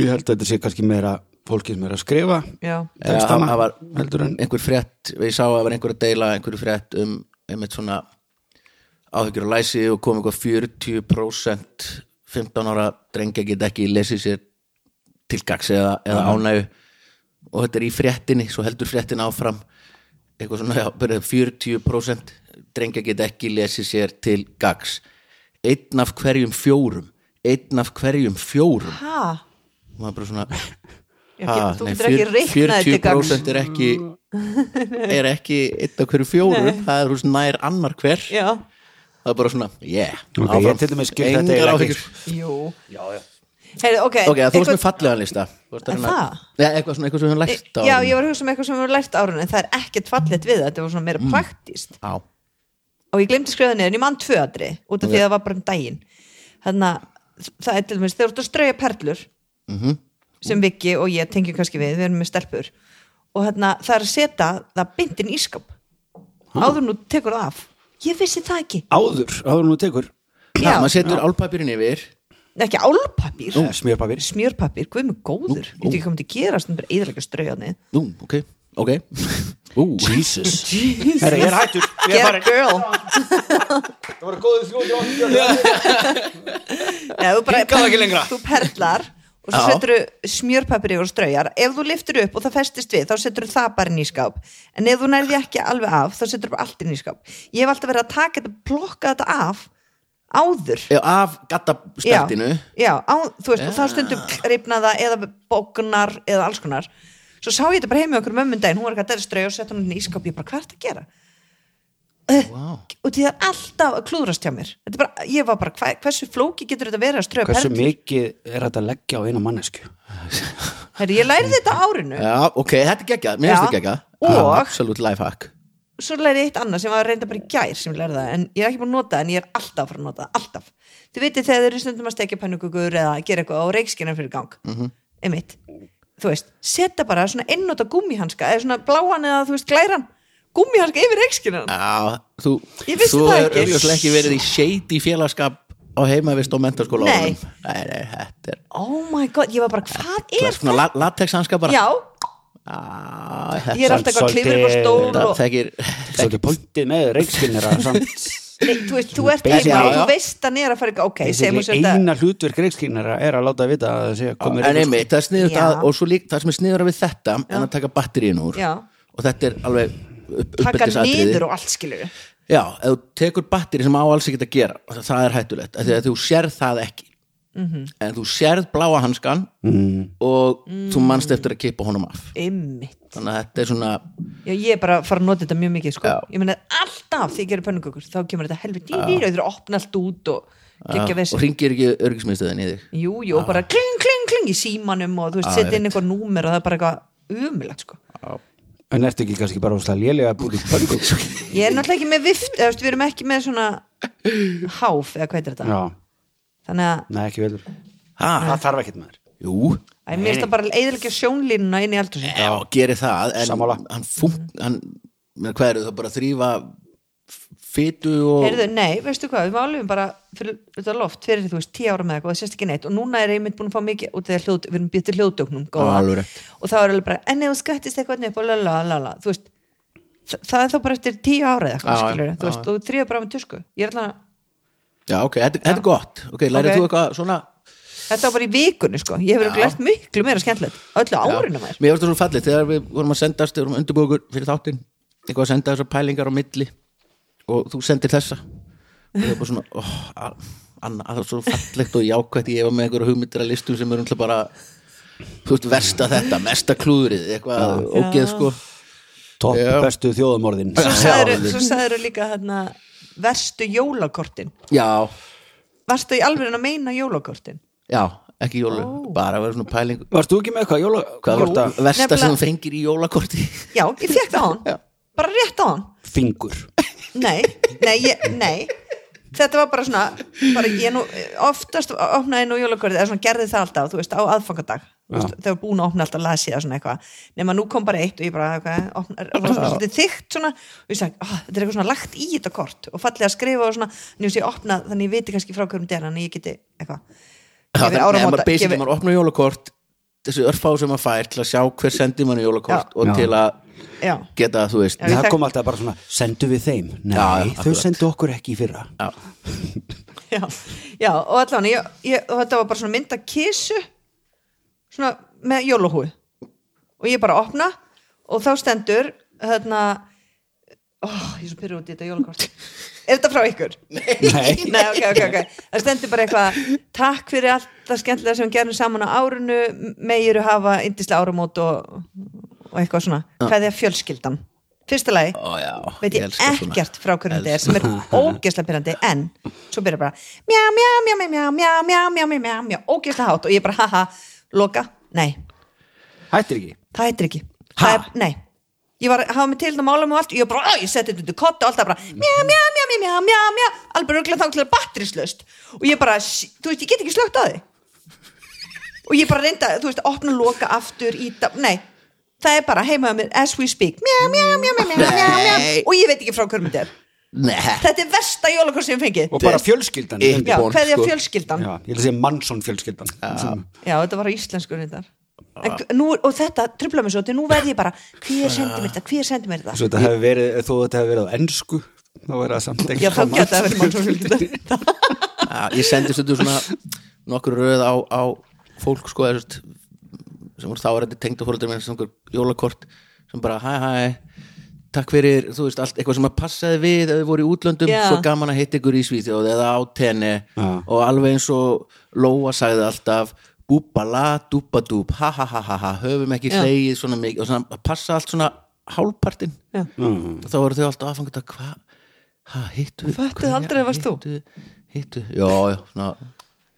ég held að þetta sé kannski meira fólki sem er að skrifa Já, Já, það það var heldur en einhver frétt, ég sá að það var einhver að deila einhverju frétt um einmitt svona áhyggjur og læsi og kom eitthvað 40% 15 ára drengja get ekki lesið sér tilgags eða, eða ánægu og þetta er í fréttinni, svo heldur fréttin áfram eitthvað svona, já, byrja 40% drengja get ekki lesið sér til gags einn af hverjum fjórum einn af hverjum fjórum hæ? og maður bara svona Já, Ha, þú nei, getur ekki fjör- reiknað þetta til gangs. 40% er ekki er ekki eitt af hverju fjórum það er hús nær annar hver Já, það er bara svona, yeah Ok, áfram. ég til dæmis skil þetta Engar eiginlega sko. áhyggjur. jú Já, já Heyrðu, ok, ok, þú veist með fallegan lista Þú ert að Er reyna- það? Nei, eitthvað svona, eitthvað sem við höfum lært á Já, ég var að hugsa um eitthvað sem við erum lært árun en það er ekkert fallegt við það, þetta var svona meira Mm. praktíst á, og ég glemdi skrifa það niður en ég mann tvö aðri út af því að það var bara um daginn þannig að það er til dæmis þegar þú ert að strauja perlur Mhm. sem Viki og ég tengjum kannski við, við erum með stelpur og þarna, það er að setja það bindin í skáp áður nú tekur það af ég vissi það ekki, áður, áður nú tekur já, Já. maður setur álpapirinn yfir ekki álpapír uh, smjörpapir smjörpapír, guð mig góður ég veit ekki hvað myndi gerast, það er bara eðalega straujaðni nú, ok, ok ú, Jesus Herra, ég er hættur, ég er get a farin girl það voru góðu 380 Já, þú bara Hingað og ekki lengra. Þú perlar og svo Já. setur þú smjörpapir yfir og straujar ef þú liftir upp og það festist við þá setur þú það bara inn í skáp en ef þú nærði ekki alveg af þá setur þú bara allt inn í skáp ég hef alltaf verið að taka þetta, plokka þetta af áður Já, af gattaspeltinu já, á, þú veist, og þá stundum ripnaða eða bókunar eða alls konar svo sá ég þetta bara heim með okkur mömmun daginn hún var ekki að þetta strauja og setja hún inn í skáp ég bara, hvað er þetta að gera? Eh, wow. og því það er alltaf að klúðrast hjá mér Þetta er bara, ég var bara, hva, hversu flóki getur þetta verið að strauja hversu perlur? mikið er þetta að leggja á eina mannesku Herri, ég lærði þetta á árinu já, ok, þetta er geggjað, mér Já. finnst þetta geggjað Og- absolutt lifehack svo lærði ég eitt annað sem var reynda bara í gær sem ég lærði það, en ég er ekki búin að nota það en ég er alltaf að fara að nota það, alltaf þið veitir þegar þeir eru stundum að stekja pannukukur eða gera eitthvað á reikskinan fyrir gang einmitt, þú veist, setja bara svona einnota gummihanska eða svona bláan eða þú veist glæran gummihanska yfir reikskinan Já, þú, Ég vissi þú það hefur ekki. auðvitað ekki verið í shady félagskap á heimavist og mentaskóla Nei. árunum. nei, nei, þetta er oh my god, ég var bara, hvað er svona la- latexhanska bara já, Á, ég þetta, er Samt alltaf eitthvað að klifra svolítið- eitthvað stól þetta og, þekir svo þetta er pointið með reikskinn er að samt nei, þú veist, þú ert Basic- heima og Já, þú já. veist að nýra að fara í gang. ok, segjum Þessi við þetta eina hlutverk reikskinnara er að láta vita að það sé að koma en einmitt, það er sniður Já. það og svo líka það sem er sniður við þetta en að taka batteríin úr Já. og þetta er alveg upp, taka uppeldisatriði. niður og allt skilur já, ef þú tekur batteri sem á alls ekki að gera það- það er hættulegt, af því að þú sérð það ekki Mhm. en þú sérð bláa hanskan mm. og þú manst eftir að kippa honum af Einmitt. þannig að þetta er svona Já, ég er bara að fara að nota þetta mjög mikið sko. Já. Ég meina alltaf þegar ég gerir pönnukökur þá kemur þetta helviti í dýr og þetta er að opna allt út og gegja og vesir. ringir ekki örgismiðstöðin í þig Jú, jú, og bara kling, kling, kling í símanum og þú veist, setja inn eitthvað númer og það er bara eitthvað umilagt sko. En ertu ekki kannski bara óslega lélega að búið pöngu Ég er náttúrulega ekki með vift, eða, þú veist, við erum ekki með svona háf eða hvað er þetta? Já, Þannig að, nei ekki velur ha, Það þarf ekkert maður jú, að mér finnst það bara eðilegja sjónlínuna inn í eldur já, gerir það en Sammála. hann funkt hann, menn, hvað eru það bara að þrýfa fytu og Heyrðu, nei, veistu hvað, við málum bara fyrir þetta loft, fyrir þú veist, tíu ára með eitthvað það sést ekki neitt og núna er einmitt búin að fá mikið út af því að hljóð, við erum býttir hljóðdögnum góða. Já, alveg rétt. og þá er alveg bara, en ef þú skattist eitthvað upp og lalalala, þú veist þa- það er þá bara eftir tíu ára eða eitthvað Já, skilur, já, þú veist, þú þrýður bara með tusku ég er allan, já, ok, þetta, þetta er gott ok, lærið Ok. þú eitthvað svona þetta var bara í vikunni sko, ég hefur glæst miklu meira skemmtilegt öllu árinu mér, Mér varst það svo fallið þegar við vorum að sendast þegar við vorum undirbúkur fyrir þáttinn eitthvað að senda þessar pælingar á milli og þú sendir þessa og það er bara svona oh, Anna, það er svo fallegt og jákvætt ég var með einhverja hugmyndir að listum sem er umtla bara þú veist, versta þetta, mesta klúðrið eitthvað ógeð sko Topp Já. bestu þjóðumorðin svo Já, sagður, svo sagður líka hérna, verstu jólakortin Já, varstu í alveg að meina jólakortin já, ekki jólu bara að vera svona pæling Varst þú ekki með eitthvað jóla hvað var þetta versta nefnilega- sem þú fengir í jólakorti já, ég fekk það á hann, bara rétt á hann Fingur Nei, nei, ég, nei Þetta var bara svona bara ég nú, oftast opnaði nú jólakortið eða svona gerði það alltaf, þú veist, á aðfangadag þú veist, þegar búin að opna alltaf lasi eða svona eitthvað nema nú kom bara eitt og ég bara okay, opna, var svona svolítið þykkt svona og ég sagði, oh, þetta er eitthvað svona lagt í þetta kort og fallið að skrifa og svona, en ég sé opna þannig ég viti kannski frá hverjum dæra, en ég geti eitthvað Það Gefið er nefnir áramóta- maður basically, gefið- maður opnar jólakort þessu örfá sem maður fær til að sjá hver sendi manni jólakort Já. og Já. til að Já, geta, þú veist, ég Það þekk- kom alltaf bara svona, sendu við þeim Nei, Já, já, þau akkurat. sendu okkur ekki í fyrra já, já og allan ég, ég, og þetta var bara svona mynd að kissu svona með jólahúi og ég bara opna og þá stendur hérna ó, ég er svo pyrrið út í þetta jólakort er þetta frá ykkur? Nei, Nei, ok, ok, ok það stendur bara eitthvað takk fyrir allt það skemmtilega sem við gerum saman á árinu megiru hafa yndislega áramót og, og eitthvað svona hvað er fjölskyldan? Fyrsta lagi Ó, já, veit ég, elska svona. ekkert frá hvernig þetta er Elska. sem er ógeðslega pyrrandi en svo byrja bara mjá, mjá, mjá, mjá, mjá, mjá, mjá, mjá, mjá, mjá, mjá ógeðslega hátt og ég bara haha, loka nei, hættir ekki það heitir ekki það er, nei, ég var, hafa mig til það mála mig og allt, ég bara, "Á, ég seti þetta út í kotta og alltaf bara, mjá, mjá, mjá, mjá, mjá, mjá, mjá alveg röglega þá til það batterislaust og ég bara, sí- þú veist, ég get ekki slögt á því og ég bara reynda, þú veist, opna loka aftur, íta, nei það er bara heima á mér, as we speak mjá, mjá, mjá, mjá, mjá, mjá, mjá Nei. og ég veit ekki frá hverjum þetta er Nei, þetta er versta jólakort sem ég fengið Og bara fjölskyldan Í- undir. já, Bond, hverja sko. fjölskyldan já. Já, Ég vil segja Mansson fjölskyldan sem- þetta var á íslensku reyndar En hv- nú, og þetta trubla mér svo til nú verð ég bara, hver sendi mér þetta, hver sendi mér þetta Svo þetta hefur verið, þó þetta hefur verið á ennsku þá verið það samt ekki já þá geta það verið mann svo fjölskyldan Já, ég sendi stundu svona nokkur röð á, á fólk sko eða, sérst, sem voru þá er þetta tengd að fóröldur minn sem einhver jólakort sem bara hæ hæ takk fyrir, þú veist, allt eitthvað sem að passaði við ef þið voru í útlöndum, Já. svo gaman að hitta ykkur í Svíþjóð eða á tenni Já. og alveg eins og Lóa sagði alltaf búbala, dúbadúb, ha ha ha ha ha höfum ekki Já. hlegið svona mikið og svona, að passa allt svona hálfpartin Já. og þá voru þau alltaf aðfangat að hvað ha, hittu Föttuðu aldrei að varst þú? hittu, hittu, já, já, svona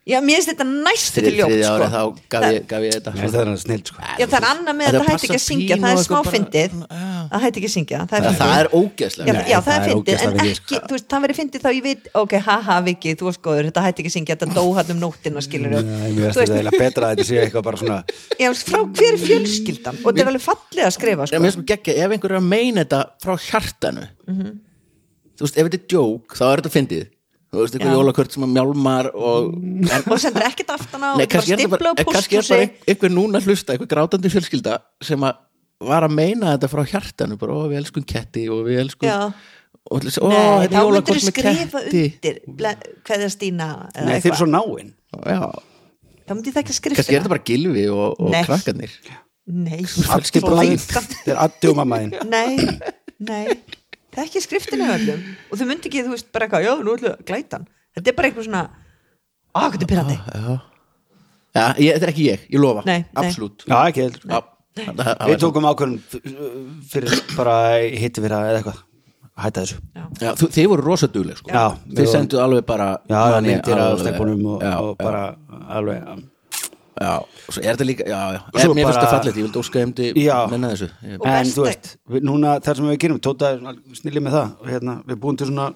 já, mér finnst þetta næstu til þrið, ljótt þriðja sko. árið þá gaf ég, gaf ég þetta Nei, það er hann snill sko já, það er annað með Þetta að það hætti passar ekki að syngja pínu það er og smá eitthvað bara- fyndið Já. það hætti ekki að syngja það það, það er fyndið. er ógeðslega Já, Nei, já, það það er er fyndið, en ógeðslega fyndið, ekki, þú veist, það verið fyndið þá ég veit, ok, haha, Viki, þú varst góður, þetta hætti ekki að syngja, þetta dó hann um nóttina, skilur Nei, mér finnst þetta eiginlega betra að þetta sé eitthvað bara svona Já, frá hver er fjölskyldan og þetta er alveg fallega að skrifa Ég sko. mér sko geggja, ef einhver er að meina þetta frá hjartanu Mhm. þú veist, ef þetta er djók þá er þetta fyndið þú veist, einhver Já. Mm. jólakört sem að mjálmar og en, og sendur ekkert aftan á nei, og bara kannski er þetta stifla bara, eh, og kannski pústu er bara sig ein- einhver núna að hlusta, einhver grátandi fjölskylda sem að var að meina þetta frá hjartanu bara, ó, við elskum ketti og við elskum Já. og allir þessi, ó, Nei, þetta er þá myndir jólakort þú með skrifa ketti undir hverða Stína eða Nei, þeir eitthvað. eru svo náin já, þá myndir það ekki að skrifa kannski er þetta bara gilvi og, og Nei. krakkarnir Nei, Allt skipulaðið, flækan. þeir addi og mammaðin Nei, nei það er ekki skriftinu af öllum og þau myndi ekki, þú veist, bara eitthvað, já, nú ætlum við að glæta hann þetta er bara eitthvað svona, að, hvað er pyrrandi Ah. Já, ég, þetta er ekki ég, ég lofa Nei, nei. Absolutt Já, ekki heldur Já, það- það Við var- tókum ákvörðum fyrir bara hitti vera eða eitthvað Hætta þessu Já, þú- Þið voru rosadugleg sko Já, Þið senduð alveg bara Já, það manni myndir að alveg- stelpunum og, Já, og bara alveg um, já, svo er þetta líka Já, já, Svo En mér finnst bara- það fallið, ég vildi óska heimdi Já. menna þessu Ég- Og En besta- þú veist, við, núna þar sem við gerum Tóta er svona snillið með það og hérna, Við búum til svona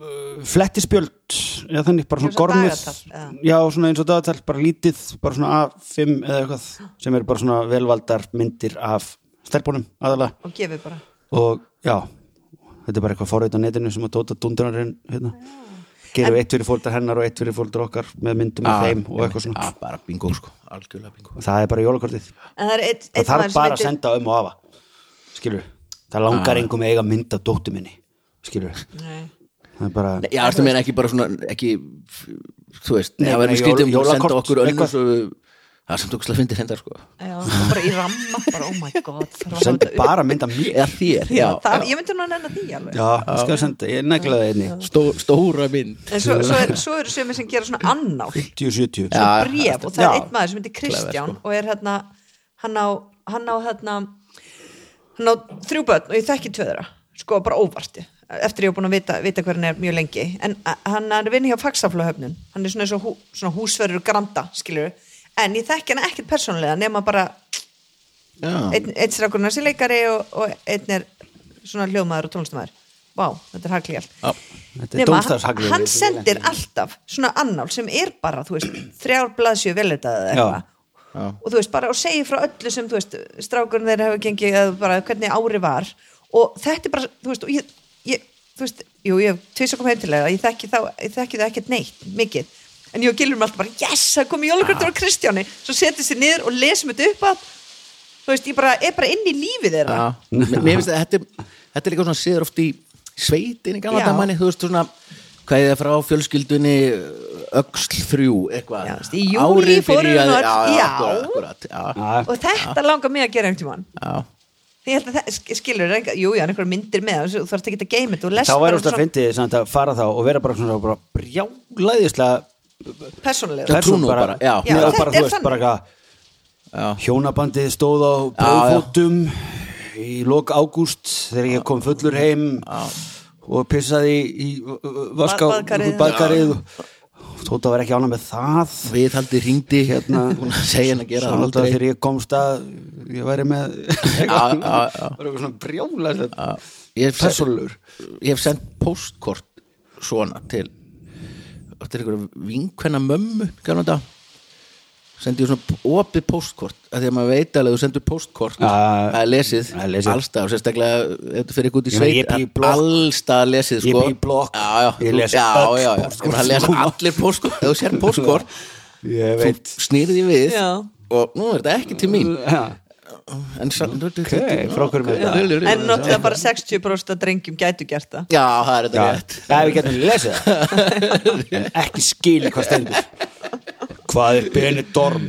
uh, flettispjöld eða þannig bara svona Eins og gormið dagatal, eða? já, svona eins og dagatal, bara lítið bara svona A5 eða eitthvað sem eru bara svona velvaldar myndir af stelpunum aðalega og gefið bara og já, þetta er bara eitthvað forreit á netinu sem að Tóta Dundunarinn hérna, gerum eitt fyrir fóldar hennar og eitt fyrir fóldar okkar með myndum af Já, þeim og eitthvað svona Já, bara bingo sko, algjörlega bingo og það er bara jólakortið en það er eitt, það eitt þarf bara að senda um og afa skilur, það Ah. langar engum að eiga mynd af dóttu minni skilur, Nei. það er bara Nei, Já, það meina ekki bara svona ekki, þú veist, Nei, það verður nei, skrítið um jól- að senda jólakort, okkur önnur eitthvað. svo, það er samt okkur slag fyndir hendar sko Já, bara í ramma, bara oh my god þarf að sendi láta- bara mynd af mér Eða þér, já, það, ég myndi nú að nennan því alveg já, ég skal senda, ég neglaði einni Stó, stóra mynd en svo, svo, er, svo eru sömur sem gera svona annál 10-70 Já. bréf og það er Já. einn maður sem heitir Clever, sko. Kristján og er hérna hann á, hann á hérna hann á þrjú börn og ég þekki tvöðra sko bara óvarti eftir ég hef búin að vita, vita hver hann er mjög lengi en a- hann er vinni hjá fagsaflahöfnun hann er svona, svona, hú, svona húsverður granda skilur en ég þekki hann ekkert persónulega nema bara Já, einn, einn strákurinn er sér leikari og, og einn er svona hljómaður og tónlistamæður Vá, þetta er haglígjalt já, þetta er Nema, dómstafshaglið hann sendir alltaf svona annál sem er bara, þú veist, þrjár blaðsjö velitaðið eða Já. eitthvað og þú veist, bara og segir frá öllu sem, þú veist strákurinn þeirra hefur gengið, eða bara hvernig ári var og þetta er bara, þú veist og ég, ég þú veist, jú, ég hef tvis að koma heim til þeirra, ég þekki þá, ég þekki það ekkert neitt mikið, en ég og Gilrum alltaf bara, yes, það kom jólakortur á Kristjáni svo setjum sér niður og lesum þetta upp að þú veist, ég bara, er bara inn í lífið þeirra já Mér mér finnst að þetta, er- þetta er líka svona séður oft í sveitin í gamla Já. damanni, þú veist svona hvað er það frá fjölskyldunni öxl þrjú, eitthvað Já, þú veist, í júlí fórum við byrjaði- öll- já, já. já, akkurat, já, alltaf og þetta langar mig að gera einhvern tímann já. Ég held að það, sk- skilur, er einhver- jú, já, einhverjum myndir með þessu, þú þarfst ekki að geima þetta og lest þá bara væri úrst að svona fyndi samt að fara þá og vera bara svona bara brjálæðislega persónulega. trú persón nú bara, bara, já. Já, Eða þetta bara, er þú veist, þannig. bara eitthvað hjónabandið stóð á brófótum í lok ágúst þegar ég kom fullur heim og pissaði í vaska Baðkarið. baðkarið Tóta var ekki ánað með það viðhaldi ringdi hérna segja hann að gera Svo það náttúrulega aldrei þegar ég komst að ég væri með Já, já, já. var eitthvað svona brjálæðislega Já. ég hef, persónulegur ég hef sendt postkort svona til til einhverju vinkvenna mömmu kannan þetta sendi ég svona opið postkort af því að maður veit alveg að þú sendur postkort Já, já, já. það er lesið, Það er lesið. allstað og sérstaklega ef þetta fyrir út í Ég meina, sveit ég bý í að blokk. allstað lesið Ég sko. bý í blokk. já, já, Ég þú- les já, öll já, já. póstkort Það les sem koma. allir postkort ef þú sér postkort ég þú veit snýrði við Já. og nú er þetta ekki til mín já, en samt ok, frá hverjum er þetta? En náttúrulega bara 60% af drengjum gætu gert það. já, það er þetta Já, rétt það við getum lesið það en ekki skil hvað stendur hvað er Benidorm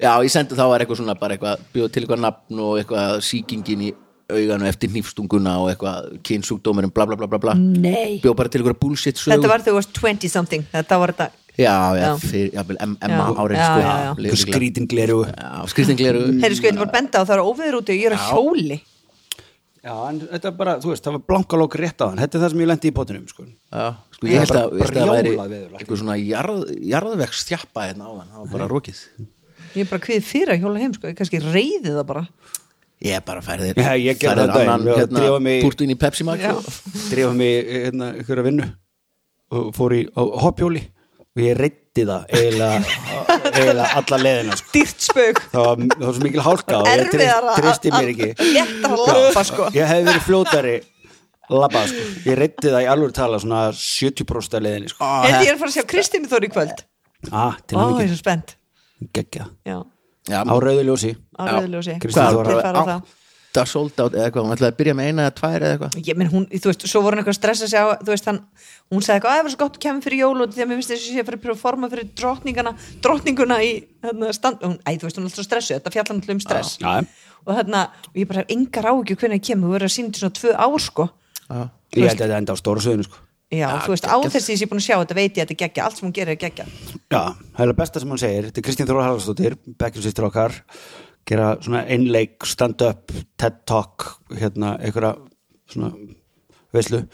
Já, ég sendi þá var eitthvað svona bara eitthvað bjóð til eitthvað nafn og eitthvað sýkingin í auganu eftir hnífstunguna og eitthvað kynsúkdómurinn bla bla bla bla bla Nei. bjóð bara til eitthvað bullshit sög Þetta var þegar þú varst 20 something, þetta var þetta, Já, já, Já. fyrir, já, bil, em, emma Já. árið Já, sko, já, já. líklega. skrítin gleru Já, skrýtingleru heyrðu sko, þetta var benda og það var óveður úti og ég er á hjóli. já, en þetta er bara, þú veist, það var blankalók rétt á hann þetta er það sem ég lendi í potinum sko. Já, sko, ég Það held er að, bara ég held að það væri brjálað veðurlag. eitthvað svona jarð, jarðvegs þjappa hérna áðan, það var bara rokið Ég er bara kviðið fyrir að hjóla heim, sko, ég kannski reyði það bara. Ég bara færði Já, ég gerði færði það daginn, annan ég drífa hérna, mig- púrtun í Pepsi Max Já. og- drefa mig hérna, ykkur að vinnu og fór í á hoppjóli og ég reytti það eiginlega, eiginlega alla leðina sko. Dýrt spög, það, var, það var svo mikil hálka og ég erfiðar að, tristi mér ekki léttar að lappa, sko. ég hefði verið fljótari labba, sko. ég reytti það í alveg tala svona 70% af leðinni sko. Heyrðu, ég er að fara að sjá Kristínu Þór í kvöld. ah, til Ó, hann ég er svo spennt. geggja Já, Já, á rauðu ljósi á rauðljósi. Kristín Þóra Þeir fara á á- það. átta sold out eða eitthvað, hún ætlaði að byrja með eina eða tvær eða eitthvað ég menn hún, þú veist, svo voru hann eitthvað að stressa sig á þú veist, hann, hún sagði eitthvað, að það var svo gott að kemur fyrir jól og því að mér finnst þess að ég fyrir að performa fyrir drottningana, drottninguna í þarna, stand, hún, æ, þú veist, hún er alltaf stressu, þetta fjallar alltaf um stress Já, já. og þarna, og ég bara hef engar áhyggjur hvernig það kemur, þú verður að sína þetta svona tvö ár sko, Ég held að þetta enda á stóra söðinu sko já, þú veist, á þess að ég sé búin að sjá þetta, veit ég að þetta er geggja, allt sem hún gerir er geggja Já, það er það besta sem hann segir Þetta er Kristín Þóra Haraldsdóttir, bekkjum sýstir okkar gera svona einleik stand-up, TED Talk hérna, einhverja svona veislu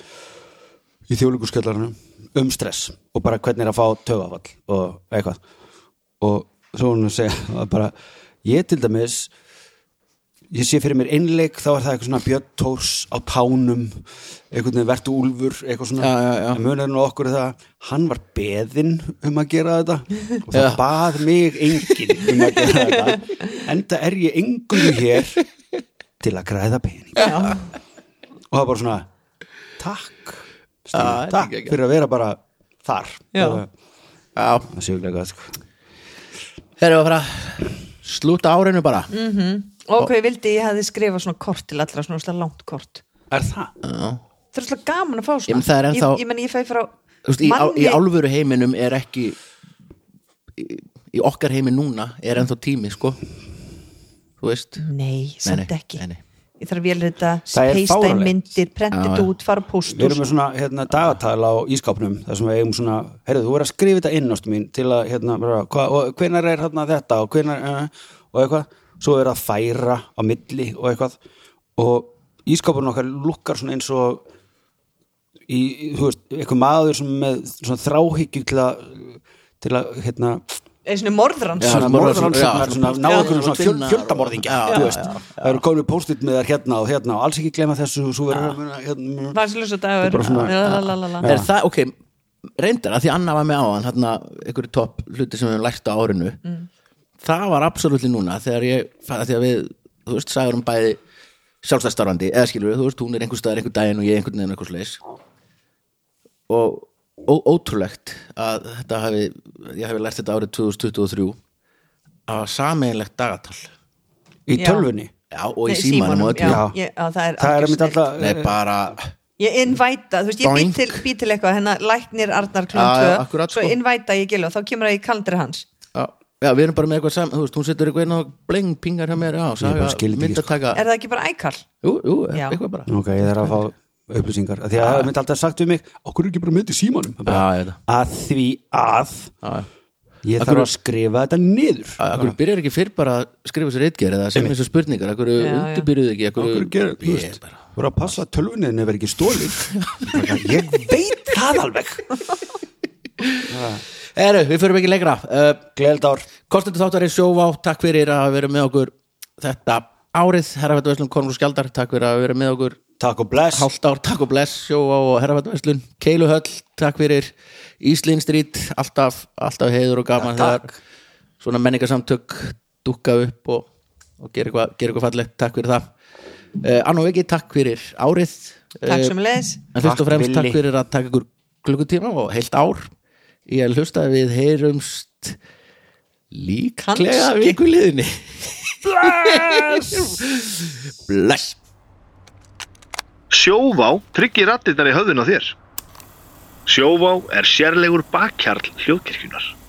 í þjóðlíkurskjallarinu um stress og bara hvernig er að fá tögafall og eitthvað og svo hún að segja að bara ég til dæmis ég sé fyrir mér einleik þá er það eitthvað svona Björn Tórs á tánum einhvern veginn vertu úlfur eitthvað svona, Já, já, já. en munarinn á okkur er það hann var beðinn um að gera þetta og það bað mig enginn um að gera þetta enda er ég engunni hér til að græða pening já. og það er bara svona takk, Stína, Já, þetta er takk geggjað. fyrir að vera bara þar Já. það Já, það séu ekki eitthvað sko. þeir eru að fara slúta árinu bara Mm. og hvað ég vildi, ég hefði skrifað svona kort til allra, svona ógeðslega langt kort er það? það er svolítið gaman að fá Ég svona menn, það er ennþá- ég, ég, meni, ég fæ frá Þú veist, í, á, í manni- álfuru heiminum er ekki í, í okkar heimi núna er ennþá tími, sko Þú veist Nei, samt nei, ekki nei, nei. Ég þarf að velrita, Það er peista inn fáránlegt. myndir, prenta Já, þetta já. út, fara Við póstur erum með svona hérna, dagatal á ískápnum þar sem við eigum svona, heyrðu, þú verður að skrifa þetta inn ástu mín til að, hérna, bara, hva, og hvenær er hérna þetta og hvenær uh, og eitthvað, svo er að færa á milli og eitthvað og ískápnum okkar lukkar svona eins og í, í- þú veist, eitthvað maður sem er með svona þráhyggju til að til að, hérna Eða svona morðrans Já, svona morðrannsóknar, morðrannsóknar, já, svona svona ná einhverjum svona fjöl, tinnar og- fjöldamorðingja Já, þú já, veist, það eru komið póstitt með þær hérna og hérna og alls ekki glemma þessu og svo verður að muna, hérna, Varslösa dagur bara svona- Lalalala. Er það, ok, reyndar að því Anna var með á hann, hérna, einhverju topp hluti sem við höfum lært á árinu það var absolutt núna þegar ég fann að því að við, þú veist, sagður um bæði sjálfstæðstarfandi, eða skilur við, þú veist, hún er einhver staðar einhver daginn og ég einhvern veginn einhvers leis og ó, ótrúlegt að þetta hafi ég hafi lært þetta árið 2023 að sameinlegt dagatal í Já. tölvunni já, og í Nei, símanum og öllu já, Já. ég, á, það er, það er algjör mitt snill. alltaf Nei, bara, Ég invita, þú veist, ég Boink. být til, bý til eitthvað hennar læknir Arnar Já, já, klun 2 akkurat, Svo sko. invita ég gilu og þá kemur það í kaldri hans já, já, við erum bara með eitthvað saman þú veist, hún setur eitthvað inn og bling, pingar hjá mér já, saga, bara skil þetta ekki, sko. myndataka Er það ekki bara ækall? Jú, jú, Já. eitthvað bara ok, ég þarf að fá upplýsingar Af því að það myndi alltaf sagt við mig okkur er ekki bara myndi símanum Það bara, Ah. Já, ég veit það. að því að Já, ég Akkur- þarf að skrifa þetta niður já. Akkur byrjar ekki fyrr bara að skrifa sér eitgerð eða sem eins og spurningar, akkur já. undirbyrjuð ekki Akkur, okkur gerir, þú ég, veist voru að passa að tölvunni en það verið ekki stólið ég veit það alveg Eru, við förum ekki lengra uh, gleyld ár Kostendur þáttar er sjóvá, takk fyrir að vera með okkur þetta árið Herrafættu Veslun Konur og Skjaldar, takk fyrir að vera með okkur takk og bless hálft ár, takk og bless, sjóvá og Herrafættu Veslun Keiluhöll, takk fyrir Íslinn Street, alltaf, alltaf heiður og gaman Já, takk. þegar svona menningarsamtök dúkka upp og, og gera eitthvað gera eitthvað fallegt, takk fyrir það uh, Ann og Viki, takk fyrir árið Takk Eh, sem leðis En fyrst og Takk, fremst takk Villi. fyrir að taka ykkur klukkutíma og heilt ár í að hlusta við heyrumst líklega Kannski. vikuliðinni Bless Bless Sjóvá tryggir rattirnar í höfðun á þér. Sjóvá er sérlegur bakkjarl hljóðkirkjunar.